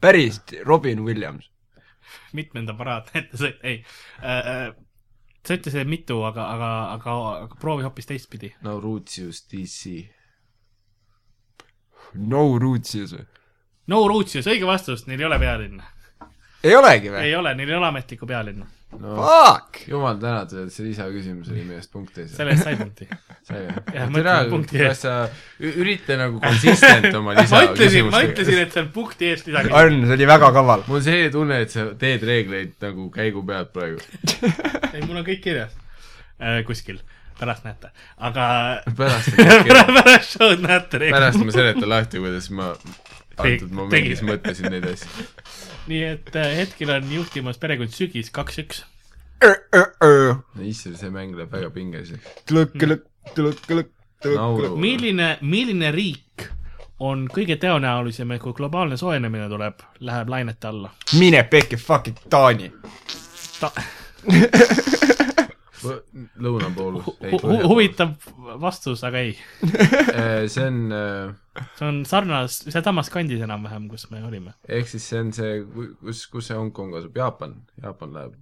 päris Robin Williams . mitmenda paraad , et see , ei äh, . sa ütlesid , et mitu , aga , aga , aga , aga proovi hoopis teistpidi . Naurutsius DC . No Rootsies või ? no Rootsius , õige vastus , neil ei ole pealinna . ei olegi või ei ? ole , neil ei ole ametlikku pealinna . no Fuck ! jumal tänatud , et see lisaküsimus oli meie eest punkte ei selle eest sai punkti . Jah, ma ütlen saanud . punkti kas sa ü- ürita nagu consistent oma ma ütlesin , ma ütlesin , lisaküsimustega ? et see on punkti eest lisaküsimus . Arn , see oli väga kaval . mul on see tunne , et sa teed reegleid nagu käigu pealt praegu . ei , mul on kõik kirjas äh, . kuskil , pärast näete , aga pärast , pärast, pärast show'd näete pärast ma reeglit . seletan lahti , kuidas ma antud Tegi- momendis tegi. mõtlesin neid asju . nii et äh, hetkel on juhtimas Perekond Sügis kaks-üks . no issand , see mäng läheb väga pingeliseks . tulõkk-lõkk , tulõkk-lõkk , tulõkk-lõkk . nauru . milline , milline riik on kõige tõenäolisem , et kui globaalne soojenemine tuleb , läheb lainete alla mine pekki fucking Taani . Ta ? lõuna pool . Hu- hu- . huvitav vastus , aga ei . Äh, see on , see on sarnas , sealsamas kandis enam-vähem , kus me olime . ehk siis see on see , kus , kus see Hongkong asub , Jaapan , Jaapan läheb .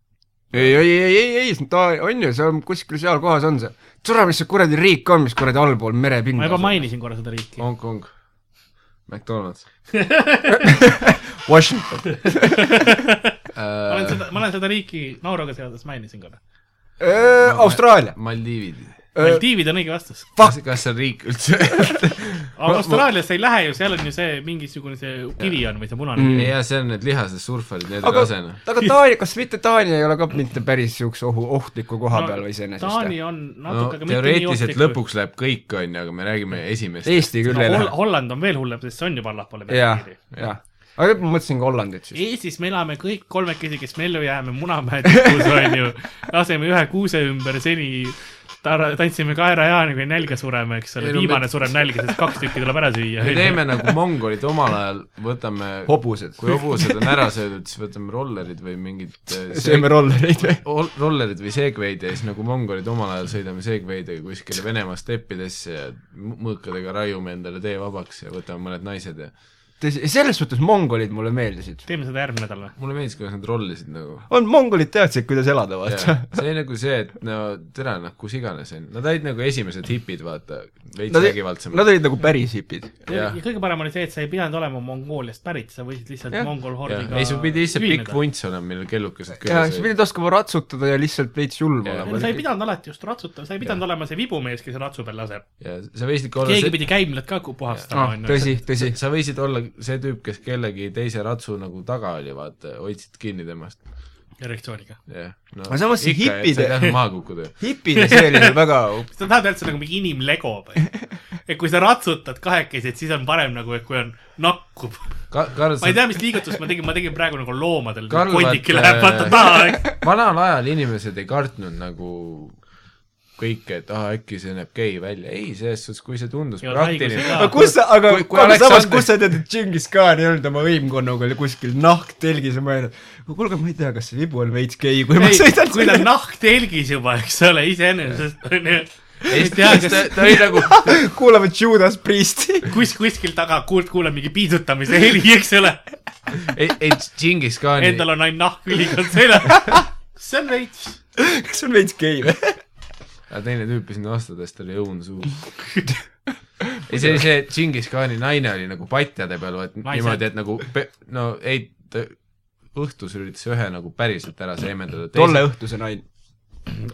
ei , ei , ei , ei , ei , ta on ju , see on kuskil seal kohas on see . tore , mis see kuradi riik on , mis kuradi allpool merepinda ma juba . mainisin korra seda riiki . Äh. Hongkong , McDonalds Washington . ma olen äh, . seda , ma olen seda riiki Nauroga seoses mainisin korra . Äh, Austraalia . Maldiivid . Äh. Maldiivid on õige vastus . kas , kas see on riik üldse ? aga Austraaliasse ei lähe ju , seal on ju see mingisugune see kivi on või see punane Mm. mm. . ja see on need lihased surfarid , need on aga , rasena . aga Taani , kas mitte Taani ei ole ka mitte päris siukse ohu , ohtliku koha peal või Taani iseenesest ? on no natuke no, , mitte nii teoreetiliselt ohtlik . lõpuks läheb kõik , on ju , aga me räägime esimest . Eesti küll ei no, Hol- lähe . Holland on veel hullem , sest see on juba allapoole jah piiri ., jah . aga nüüd ma mõtlesin ka Hollandit siis . Eestis me elame kõik kolmekesi , kes me ellu jääme , Munamäe tipus on ju , laseme ühe kuuse ümber seni , tantsime kaerajaani , kui nälga sureme , eks ole Ei , no viimane me- sureb nälga , sest kaks tükki tuleb ära süüa . me teeme nagu mongolid omal ajal , võtame , hobused . kui hobused on ära söödud , siis võtame rollerid või mingid äh, sööme rollereid või ? ol- rollerid või segveid ja siis nagu mongolid omal ajal sõidame segveidega kuskile Venemaa steppidesse ja mu- mõõkadega raiume endale tee vabaks ja võtame mõned naised ja tõsi , selles suhtes mongolid mulle meeldisid . teeme seda järgmine nädal või ? mulle meeldis , kuidas nad rollisid nagu on , mongolid teadsid , kuidas elada , vaata Jaa. . see oli nagu see , et no tere , noh , kus iganes on , nad olid nagu esimesed hipid , vaata , veits Nad vägivaldsemad . olid nagu päris hipid . ja jah , kõige parem oli see , et sa ei pidanud olema Mongooliast pärit , sa võisid lihtsalt Jah. mongol jah , hordiga ei sul pidi lihtsalt pikk ühineda. vunts olema , millel kellukesed ja küljes sa olid . pidid oskama ratsutada ja lihtsalt veits nagu. julm Jaa. Ei, sa ei olema . pidanud alati just ratsutama , sa ei pidanud olema see vibumees , kes ratsu peal laseb . ja sa võisid ka olla keegi see , pidi käimlad ka ku- puhastama , Ah, onju . tõsi , tõsi . sa võisid olla see tüüp , kes kellegi teise ratsu nagu taga oli , vaata , hoidsid kinni temast . erektsiooniga . jah , no Aga samas see et sa hippide- ei tahtnud maha kukkuda . hipide see oli nagu väga , kas sa tahad üldse nagu mingi inimlego või ? et kui sa ratsutad kahekesi , et siis on parem nagu , et kui on nakkub . Ka- , Karl , ma ei sa tea , mis liigutust ma tegin , ma tegin praegu nagu loomadel . Karl, kondiki vaata- läheb vaata taha , eks . vanal ajal inimesed ei kartnud nagu kõike , et ah , äkki see näeb gei välja , ei , selles suhtes , kui see tundus Ja praktiline haigusi ka. aga kus sa , aga , Kui- kui aga samas , Aleksander- kus sa tead , et Džingis Khan ei olnud oma võimkonnaga oli kuskil nahktelgis ja mõelnud , kuulge , ma ei tea , kas see vibu on veits gei , kui ma ei , sõidan kui ta selle on nahk telgis juba , eks ole , iseenesest onju . ei ei , tea , ta kas , ta oli nagu , kuulame Judas Priesti . kus , kuskil taga kuul- , kuuleb mingi piisutamise heli , eks ole ei , ei Džingis Khani endal on ainult nahk ülikond seljas . see on veits . kas see on veits gei või ? aga teine tüüp sinna vastades , tal oli õun suus . ei , see oli see Džingis Khani naine oli nagu patjade peal , vaat Naised. niimoodi , et nagu , no ei , ta õhtus üritas ühe nagu päriselt ära seemendada . tolle õhtuse naine .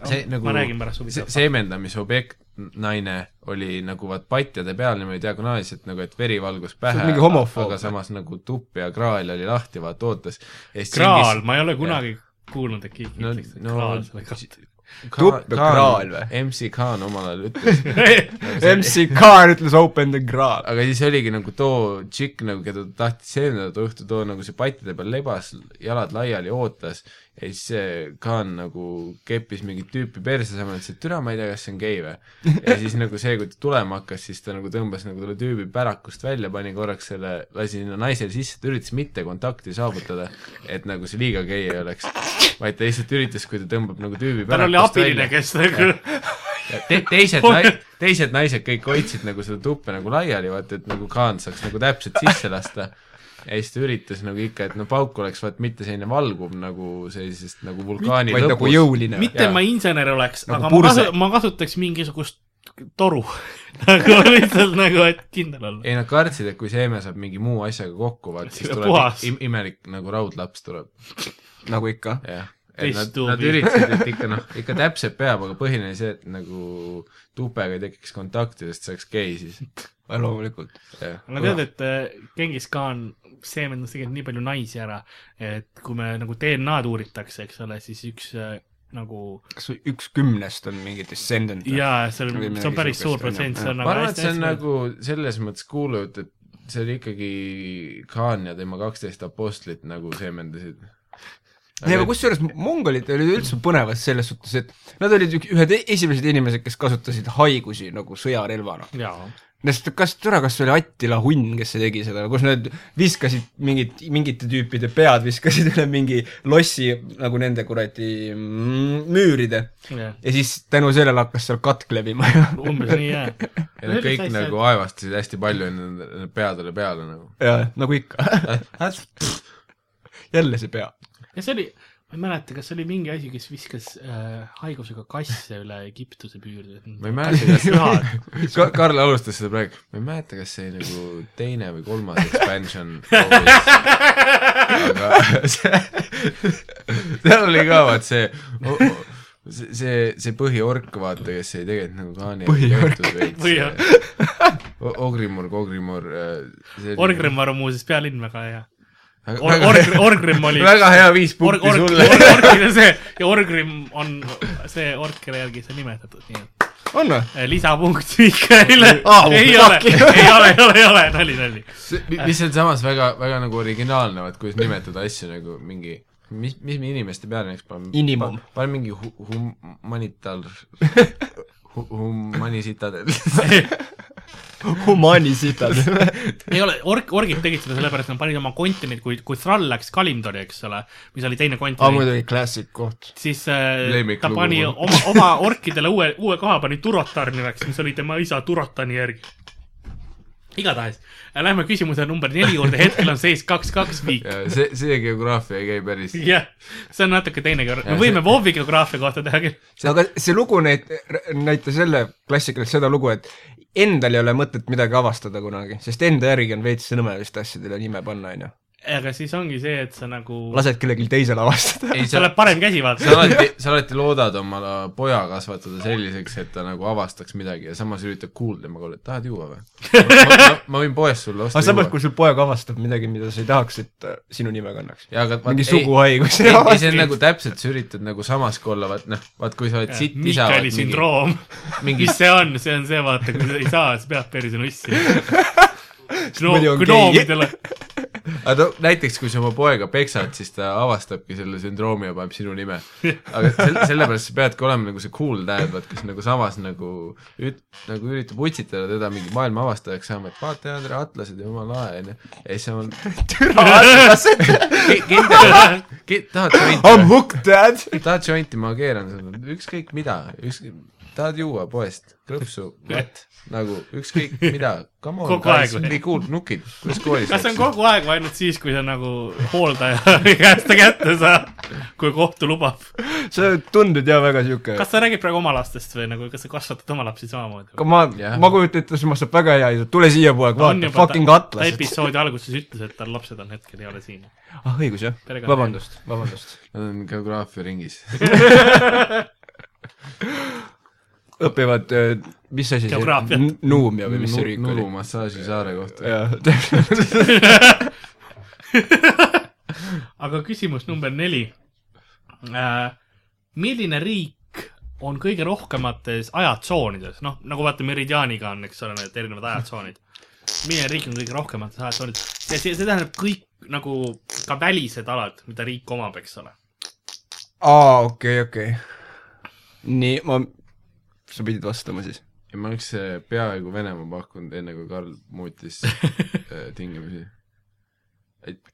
see nagu ma räägin pärast se- huvitavat fakti. seemendamisobjekt , naine oli nagu vaat patjade peal niimoodi diagonaalselt nagu , et veri valgus pähe , mingi homofoob. aga samas nagu tupp ja kraal oli lahti , vaata ootas . kraal , ma ei ole kunagi kuulnud , et keegi no ütleks , et , no kraal selle kohta . tuppekraal või ? MC Khan omal ajal ütles , MC Kaar ütles open the kraal . aga siis oligi nagu too tšikk nagu , keda ta tahtis seenida too õhtu , too nagu see pattide peal lebas , jalad laiali , ootas ja siis see Khan nagu keppis mingit tüüpi perse , samal ajal ütles , et türa , ma ei tea , kas see on gei või . ja siis nagu see , kui ta tulema hakkas , siis ta nagu tõmbas nagu selle tüübi pärakust välja , pani korraks selle , lasi sinna naisele sisse , ta üritas mitte kontakti saavutada , et nagu see liiga gei ei oleks . vaid ta lihtsalt üritas , kui ta tõmbab nagu tüübi tal oli pärakust abiline , välja kes nagu ja te, teised nai- , teised naised kõik hoidsid nagu seda tuppe nagu laiali , vaata et nagu Kaan saaks nagu täpselt sisse lasta . ja siis ta üritas nagu ikka , et no pauk oleks vaat mitte selline valguv nagu sellisest nagu vulkaani vaid nagu lõpus . jõuline . mitte Jaa. ma insener oleks , Nagu aga ma, purse. kasu, ma kasutaks mingisugust toru . nagu lihtsalt nagu , et kindel olla . ei nad kartsid , et kui seeme saab mingi muu asjaga kokku , vaat siis Ja tuleb puhas. im, imelik nagu raudlaps tuleb , nagu ikka . jah . et nad , Teisttuubi. nad üritasid , et ikka noh , ikka täpselt peab , aga põhiline see , et nagu tupega ei tekiks kontakti , sest see oleks gei siis , loomulikult . jah . aga tead , et äh, Genghis Khan seemendas tegelikult nii palju naisi ära , et kui me nagu DNA-d uuritakse , eks ole , siis üks äh, nagu kas või üks kümnest on mingi descendant ? jaa , see on Või , midagi see on päris suur sihukest, protsent , onju. see ma on nagu arvan , et see on hästi-hästi palju. nagu selles mõttes kuulujutt , et see oli ikkagi Khan ja tema kaksteist apostlit nagu seemendasid . ei , aga nagu kusjuures mongolid olid üldse põnevad selles suhtes , et nad olid ük- ühed e- esimesed inimesed , kes kasutasid haigusi nagu sõjarelvana . jaa , sest kas , tore , kas see oli Attila Hunn , kes see tegi seda , kus nad viskasid mingit , mingite tüüpide pead viskasid üle mingi lossi nagu nende kuradi mm, müüride jah , ja siis tänu sellele hakkas seal katk levima ja umbes nii jah . ja nad kõik nagu . aevastasid hästi palju nende peadele peale nagu . jaa , nagu ikka . jälle see pea . ja see oli , ma ei mäleta , kas see oli mingi asi , kes viskas äh, haigusega kasse üle Egiptuse püüri . ma ei mäleta , kas pühad . Ka- , Karl alustas seda praegu , ma ei mäleta , kas see nagu teine või kolmas expansion kogus. aga see , seal oli ka vaat see , see , see , see põhiork , vaata , kes ei tegelikult nagu kaani Põhiork. Põhiork. . Ogrimurg , Ogrimur . äh, Orgrimmar on muuseas pealinn väga hea . Org- , Orgrim Org- , Orgrimm oli . väga hea viis punkti org, sulle . org, orgid on see ja Orgrimm on see orkide järgi see nimetatud , nii et on või ? eh, lisapunkt Mihkailile Ah, oh, . ei ole , ei ole , ei ole , ei ole , nali , nali . mis on samas väga , väga nagu originaalne , vaat kuidas nimetada asju nagu mingi , mis , mis me inimeste peale näiteks paneme ? Inimum. . paneme mingi hu- , humanitar- , humanisitadel . humanisitad . ei ole , ork , orgid tegid seda sellepärast , et nad panid oma kontinent , kui , kui Thrall läks Kalimdori , eks ole , mis oli teine aa , kontinent , muidugi klassik koht . siis äh, ta Lemmiklugu. pani oma , oma orkidele uue , uue koha pani Turotar nimeks , mis oli tema isa Turotani järgi . igatahes , lähme küsimuse number neli juurde , hetkel on seis kaks , kaks , viik . see , see geograafia ei käi päris . jah , see on natuke teine kord , me Ja võime see- WoW-i geograafia kohta teha küll . aga see lugu näit- , näitas jälle klassikaliselt seda lugu , et endal ei ole mõtet midagi avastada kunagi , sest enda järgi on veits nõme vist asjadele nime panna , onju . aga siis ongi see , et sa nagu , lased kellelgi teisel avastada . ei , sa sa , oled parem käsi sa vaata . alati , sa alati loodad oma poja kasvatada selliseks , et ta nagu avastaks midagi ja samas üritad kuulda , ma kuulen , tahad juua või ? ma võin poest sulle osta aga samas , kui sul poeg avastab midagi , mida sa ei tahaks , et ta sinu nime kannaks . jaa , aga mingi ei- suguhaigus . ei , ei see on nagu täpselt , sa üritad nagu samas kui olla , vaat noh , vaat kui sa oled sitt isa , Mikali sündroom , mingi mis see on , see on see vaata , kui sa ei saa , siis pead perse nussi . muidu on gei. gnoomidele , aga no näiteks , kui sa oma poega peksad , siis ta avastabki selle sündroomi ja paneb sinu nime . aga selle , sellepärast sa peadki olema nagu see cool dad , vaat kes nagu samas nagu üt- , nagu üritab utsitada teda mingi maailma avastajaks saama , et vaata , Andre , atlased ja jumala lae , onju . ja siis on ki- kindel , tahad I m jointi , hooked dad . tahad jointi , ma keeran sulle , ükskõik mida , ükskõik , tahad juua poest , krõpsu , vett , nagu ükskõik mida , come on Kogu , aeg või? nii cool , nukid , kuidas koolis kas see on kogu aeg või ainult siis , kui sa nagu hooldaja käest ta kätte saad , kui kohtu lubab ? sa tundud jah väga siuke . kas sa räägid praegu oma lastest või nagu , kas sa kasvatad oma lapsi samamoodi ? aga ma Jah. , ma kujutan ette , sul saab väga hea isa , tule siia poeg , vaata , fucking ta atlas . episoodi alguses ütles , et tal lapsed on hetkel ei ole siin . ah õigus jah , Perekond- vabandust , vabandust . Nad on geograafia ringis õpivad , mis asi Geograafiat. see , Nuumia või mis see riik Nuru oli ? massaaži saare kohta . jah , täpselt . aga küsimus number neli . Äh, milline riik on kõige rohkemates ajatsoonides , noh , nagu vaata Meridianiga on , eks ole , need erinevad ajatsoonid . meie riik on kõige rohkemates ajatsoonides ja see , see tähendab kõik nagu ka välised alad , mida riik omab , eks ole . aa , okei , okei . nii , ma , sa pidid vastama siis ? ja ma oleks äh, peaaegu Venemaa pakkunud , enne kui Karl muutis äh, tingimusi .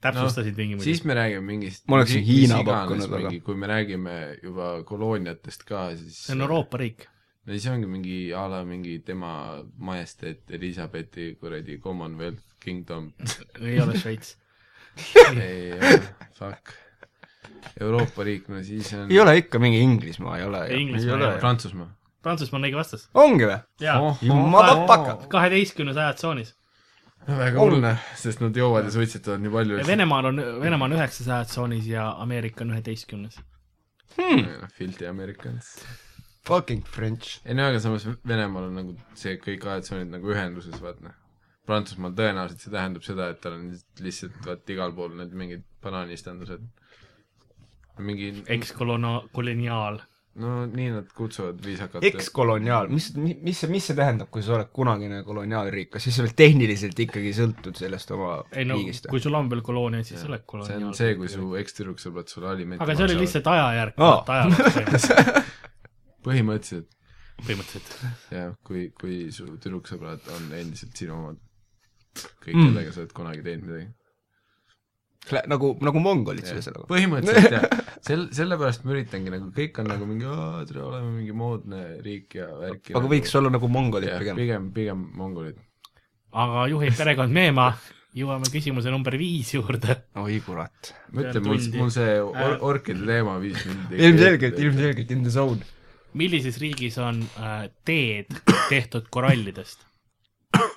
täpsustasid no, tingimusi siis . me räägime mingist Ma oleksin mis Hiina iganes pakkunud, aga- mingi- kui me räägime juba kolooniatest ka , siis see on Euroopa riik . no siis ongi mingi a la mingi tema majesteet Elizabethi kuradi Commonwealth Kingdom ei ole Šveits . ei ole , fuck . Euroopa riik , no siis on ei ole ikka mingi Inglismaa , ei ole . Inglismaa ei ole. Prantsusmaa . Prantsusmaa on õige vastus . ongi või ? jaa , Motherfucker . kaheteistkümnes ajatsoonis . väga hull , sest nad joovad ja suitsetavad nii palju ja . Venemaal on , Venemaa on üheksas ajatsoonis ja Ameerika on üheteistkümnes . Filti noh, Americans . Fucking French . ei no aga samas Venemaal on nagu see kõik ajatsoonid nagu ühenduses , vaat noh . Prantsusmaal tõenäoliselt see tähendab seda , et tal on lihtsalt vaat igal pool need mingid banaanistandused . mingi , Ekskolona- , koloniaal . no nii nad kutsuvad viisakalt . ekskoloniaal , mis , mis see , mis see tähendab , kui sa oled kunagine koloniaalriik , kas siis sa oled tehniliselt ikkagi sõltud sellest oma ei no riigist , kui sul on veel koloonia , siis sa oled see on koloniaal . see , kui su ekstüdruksõbrad sõbrad sulle alimenti aga see oli . lihtsalt ajajärk Aa. oh. , ajaloos põhimõtteliselt põhimõtteliselt . jah , kui , kui su tüdruksõbrad on endiselt sinu omad , kõik mm. , kellega sa oled kunagi teinud midagi . või ? nagu , nagu mongolid sulle sellega . põhimõtteliselt jah , sel- , sellepärast ma üritangi nagu , kõik on nagu mingi , tere , oleme mingi moodne riik ja värk . aga võiks olla nagu mongolid jah , pigem . pigem , pigem mongolid . aga juhib perekond Meemaa , jõuame küsimuse number viis juurde . oi kurat . ma Peale ütlen , mul tundi. , mul see or- , orkide teema viis mind ilmselgelt , ilmselgelt in the zone . millises riigis on äh, teed tehtud korallidest ?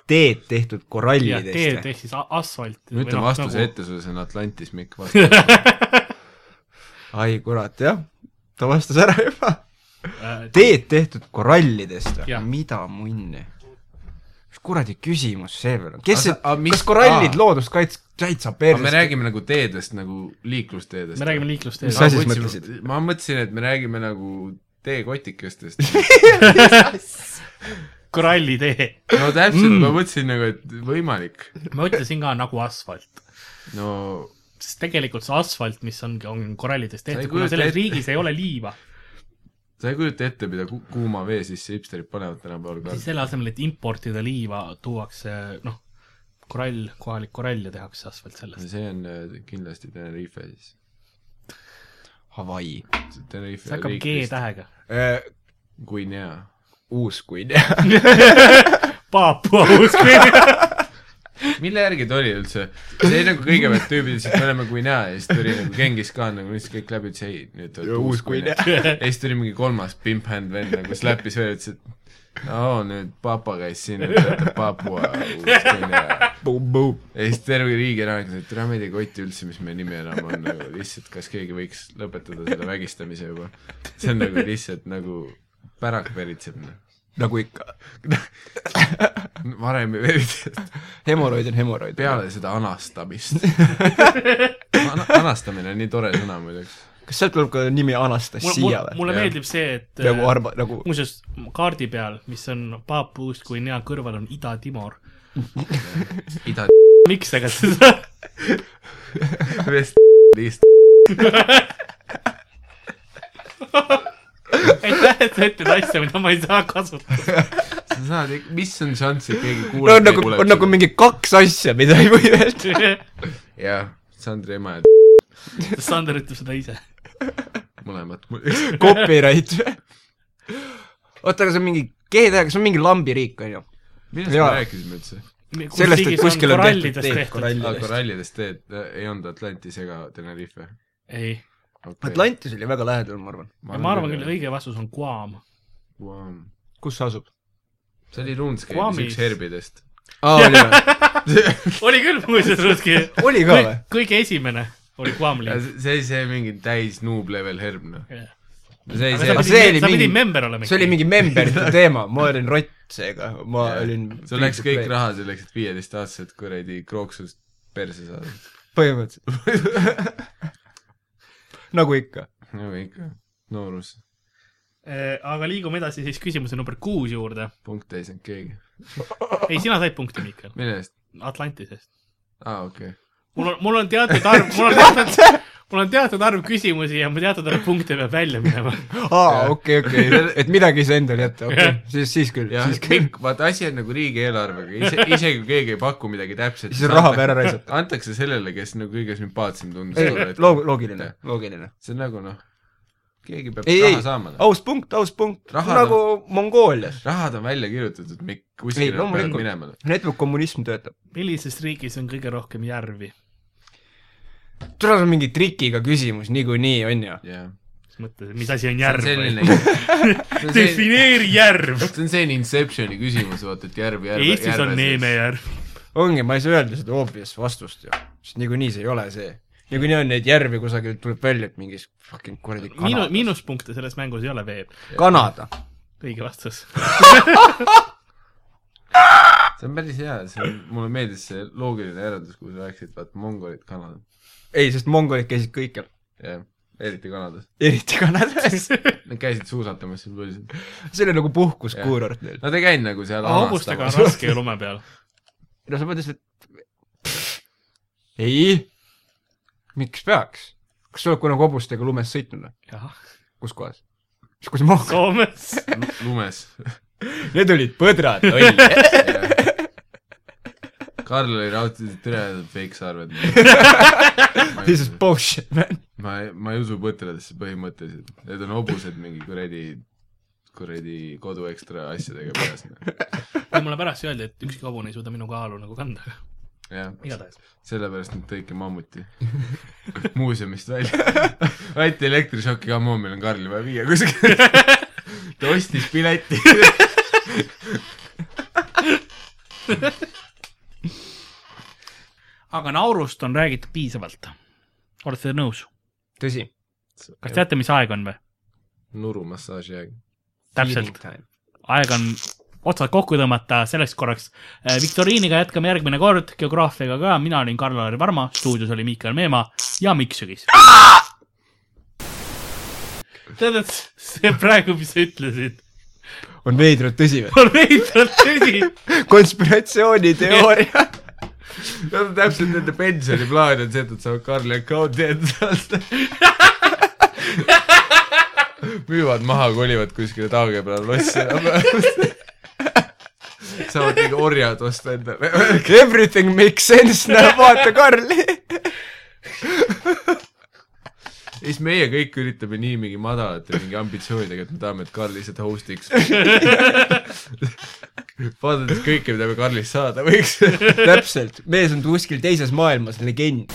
teed tehtud ja teed korallidest . ehk siis a- asfalt . noh, ma ütlen vastuse nagu... . ette sulle , see on Atlantis , Mikk vastab . ai kurat , jah . ta vastas ära juba . Äh, teed tehtud korallidest või Jah. ? mida munni ? mis kuradi küsimus see veel on ? kes Aga see sa- , aga mis- kas korallid aa. loodust kaits- , täitsa aga me perses ? räägime nagu teedest nagu liiklusteedest . me räägime liiklusteedest Mis asi- asjast mõtlesid? ma mõtlesin , et me räägime nagu teekotikestest . korallitee . no täpselt mm. , ma mõtlesin nagu , et võimalik . ma ütlesin ka nagu asfalt , no sest tegelikult see asfalt , mis ongi , on korallidest ei tehtud , kujuta kuna selles ette. riigis ei ole liiva , sa ei kujuta ette , mida ku- kuuma vee sisse hipsterid panevad tänapäeval siis ka . selle asemel , et importida liiva , tuuakse noh , korall , kohalik korall ja tehakse asfalt sellest . see on äh, kindlasti Tenerife siis . Hawaii . Tenerife see hakkab G-tähega . Guinea . Äh, uus kui Paapua uus . mille järgi ta oli üldse ? see oli nagu kõigepealt tüübid ütlesid , me oleme Guinea ja siis tuli nagu Genghis Khan nagu lihtsalt kõik läbi ütles ei , nüüd tuleb Ja uus uus Guinea . ja siis tuli mingi kolmas pimp hand vend nagu slapis veel , ütles , et no nüüd papa käis siin , nüüd töötab Papua uus Guinea jah . ja siis terve riigi elanik ütles , et täna meid ei koti üldse , mis meie nimi enam on , nagu lihtsalt , kas keegi võiks lõpetada selle vägistamise juba . see on nagu lihtsalt nagu pärak veritseb , noh . nagu ikka . varem ei veritsenud , hemoroid on hemoroid . peale seda anastamist Ana, . anastamine on nii tore sõna muideks . kas sealt tuleb ka nimi Anastasia või ? mulle Jah. meeldib see , et äh, nagu arva , nagu muuseas , kaardi peal , mis on Paapua uus Guinea kõrval , on Ida-Timor . ida- miks aga seda ? vest- , liist- . aitäh , et sa ütled asja , mida ma ei saa kasutada . sa saad , mis on šanss , et keegi no on kuulab nagu , on nagu . mingi kaks asja , mida ei või öelda . jah , Sandri ema ja Sander ütleb seda ise . mõlemad . Copyright või ? oota , aga see on mingi G-tähega , see on mingi lambiriik , on ju ? millest me Jaa. rääkisime üldse ? sellest , et kuskil on tehtud teed . korallidest . korallidest teed , ei olnud Atlantis ega Tenerife ei , okay. Atlantis oli väga lähedal , ma arvan . ma arvan küll , õige vastus on Guam . wow. . kus see asub ? see oli RuneScape'is Guamis. üks herbidest . aa , oli või ? oli küll muuseas , Ruski . oli ka või ? kõige esimene oli Guam linn . see oli see mingi täis noob level herb , noh . see sa oli see , see oli pidid , sa mingi- pidid member olema see oli . mingi memberite teema , ma olin rott seega , ma olin sul läks kõik raha selleks , et viieteist-aastaselt kuradi krooksust perse saada . põhimõtteliselt . nagu ikka . nagu ikka , noorus . Äh, aga liigume edasi siis küsimuse number kuus juurde . punkte ei saanud keegi . ei , sina said punkti , Mihkel , mille eest ? Atlantisest . aa , okei okay. . mul on , mul on teatud arv , mul on teatud , mul on teatud arv küsimusi ja ma teatud arv punkte peab välja minema . aa , okei , okei , et midagi ei saa endale jätta , okei Jah. okay. , siis , siis küll , jah siis , küll . kõik , vaata asi on nagu riigieelarvega , ise , isegi kui keegi ei paku midagi täpselt . Siis on raha peale raisatud. antakse sellele , kes nagu kõige sümpaatsem ei tundus ., loog- , loogiline , loogiline . see on nagu noh , keegi peab ei , ei, ei raha , saama oh. . aus punkt , aus punkt , Raha nagu Mongoolias . rahad on välja kirjutatud , Mikk , ei , kuskile peab loomulikult minema . noh. näitab , kui kommunism töötab . millises riigis on kõige rohkem järvi ? tule , see on mingi trikiga küsimus niikuinii , on ju ? jah . mis mõttes , mis asi see on on järv ? selline , see defineeri järv . on selline Inceptioni küsimus , vaata , et järv , järv , Eestis on Neeme . järv . ongi , ma ei saa öelda seda obvious vastust ju , sest niikuinii see ei ole see . niikuinii on neid järvi kusagilt tuleb välja , et mingis fucking kuradi miinu- , Kanada . miinuspunkte selles mängus ei ole veel . Kanada . õige vastus . see on päris hea , see on , mulle meeldis see loogiline järeldus , kui sa rääkisid , vaat mongolid Kanada , ei , sest mongolid käisid kõikjal , jah , eriti Kanadas . eriti Kanadas . Nad käisid suusatamas siin põhiliselt . see oli nagu Jah. puhkuskuurort neil . Nad ei käinud nagu seal hobustega on raske ju lume peal . no sa mõtlesid , et ei , miks peaks ? kas sa oled kunagi hobustega lumes sõitnud või ? jah , kus kohas ? siis kui sa maha , Soomes . Lu- lumes . need olid põdrad , loll . Karl oli raudselt üle peiksarved . This is bullshit , man . ma , ma ei usu põtradesse põhimõtteliselt , need on hobused mingi kuradi , kuradi kodu ekstra asjadega peas . noh. mulle pärast öeldi , et ükski hobune ei suuda minu kaalu nagu kanda . jah , igatahes . sellepärast nad tõidki mammuti muuseumist välja . anti elektrišoki , ammu meil on Karli vaja viia kuskile . ta ostis pileti . aga naurust on räägitud piisavalt . olete te nõus ? tõsi . kas teate , mis aeg on või ? nurumassaaži aeg . täpselt ,. aeg on otsad kokku tõmmata selleks korraks . viktoriiniga jätkame järgmine kord , geograafiaga ka , mina olin Karl-Lari Varma , stuudios oli Miikael Meemaa ja Mikk Sügis . Ah! tähendab , see praegu , mis sa ütlesid , on veidralt tõsi või ? on veidralt tõsi konspiratsiooniteooria . Nad on täpselt nende pensioniplaan on see , et nad saavad Karli account'i endast . müüvad maha , kolivad kuskile taage peale lossi . saavad mingi orjad osta endale . Everything makes sense , näe , vaata Karli . ja siis meie kõik üritame nii mingi madalate mingi ambitsioonidega , et me tahame , et Karl lihtsalt host'iks . vaadates kõike , mida me Karlist saada võiks . täpselt , mees on kuskil teises maailmas legend .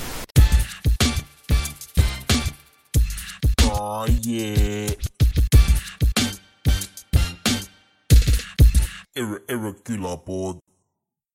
Oh yeah. Ir- irregular board.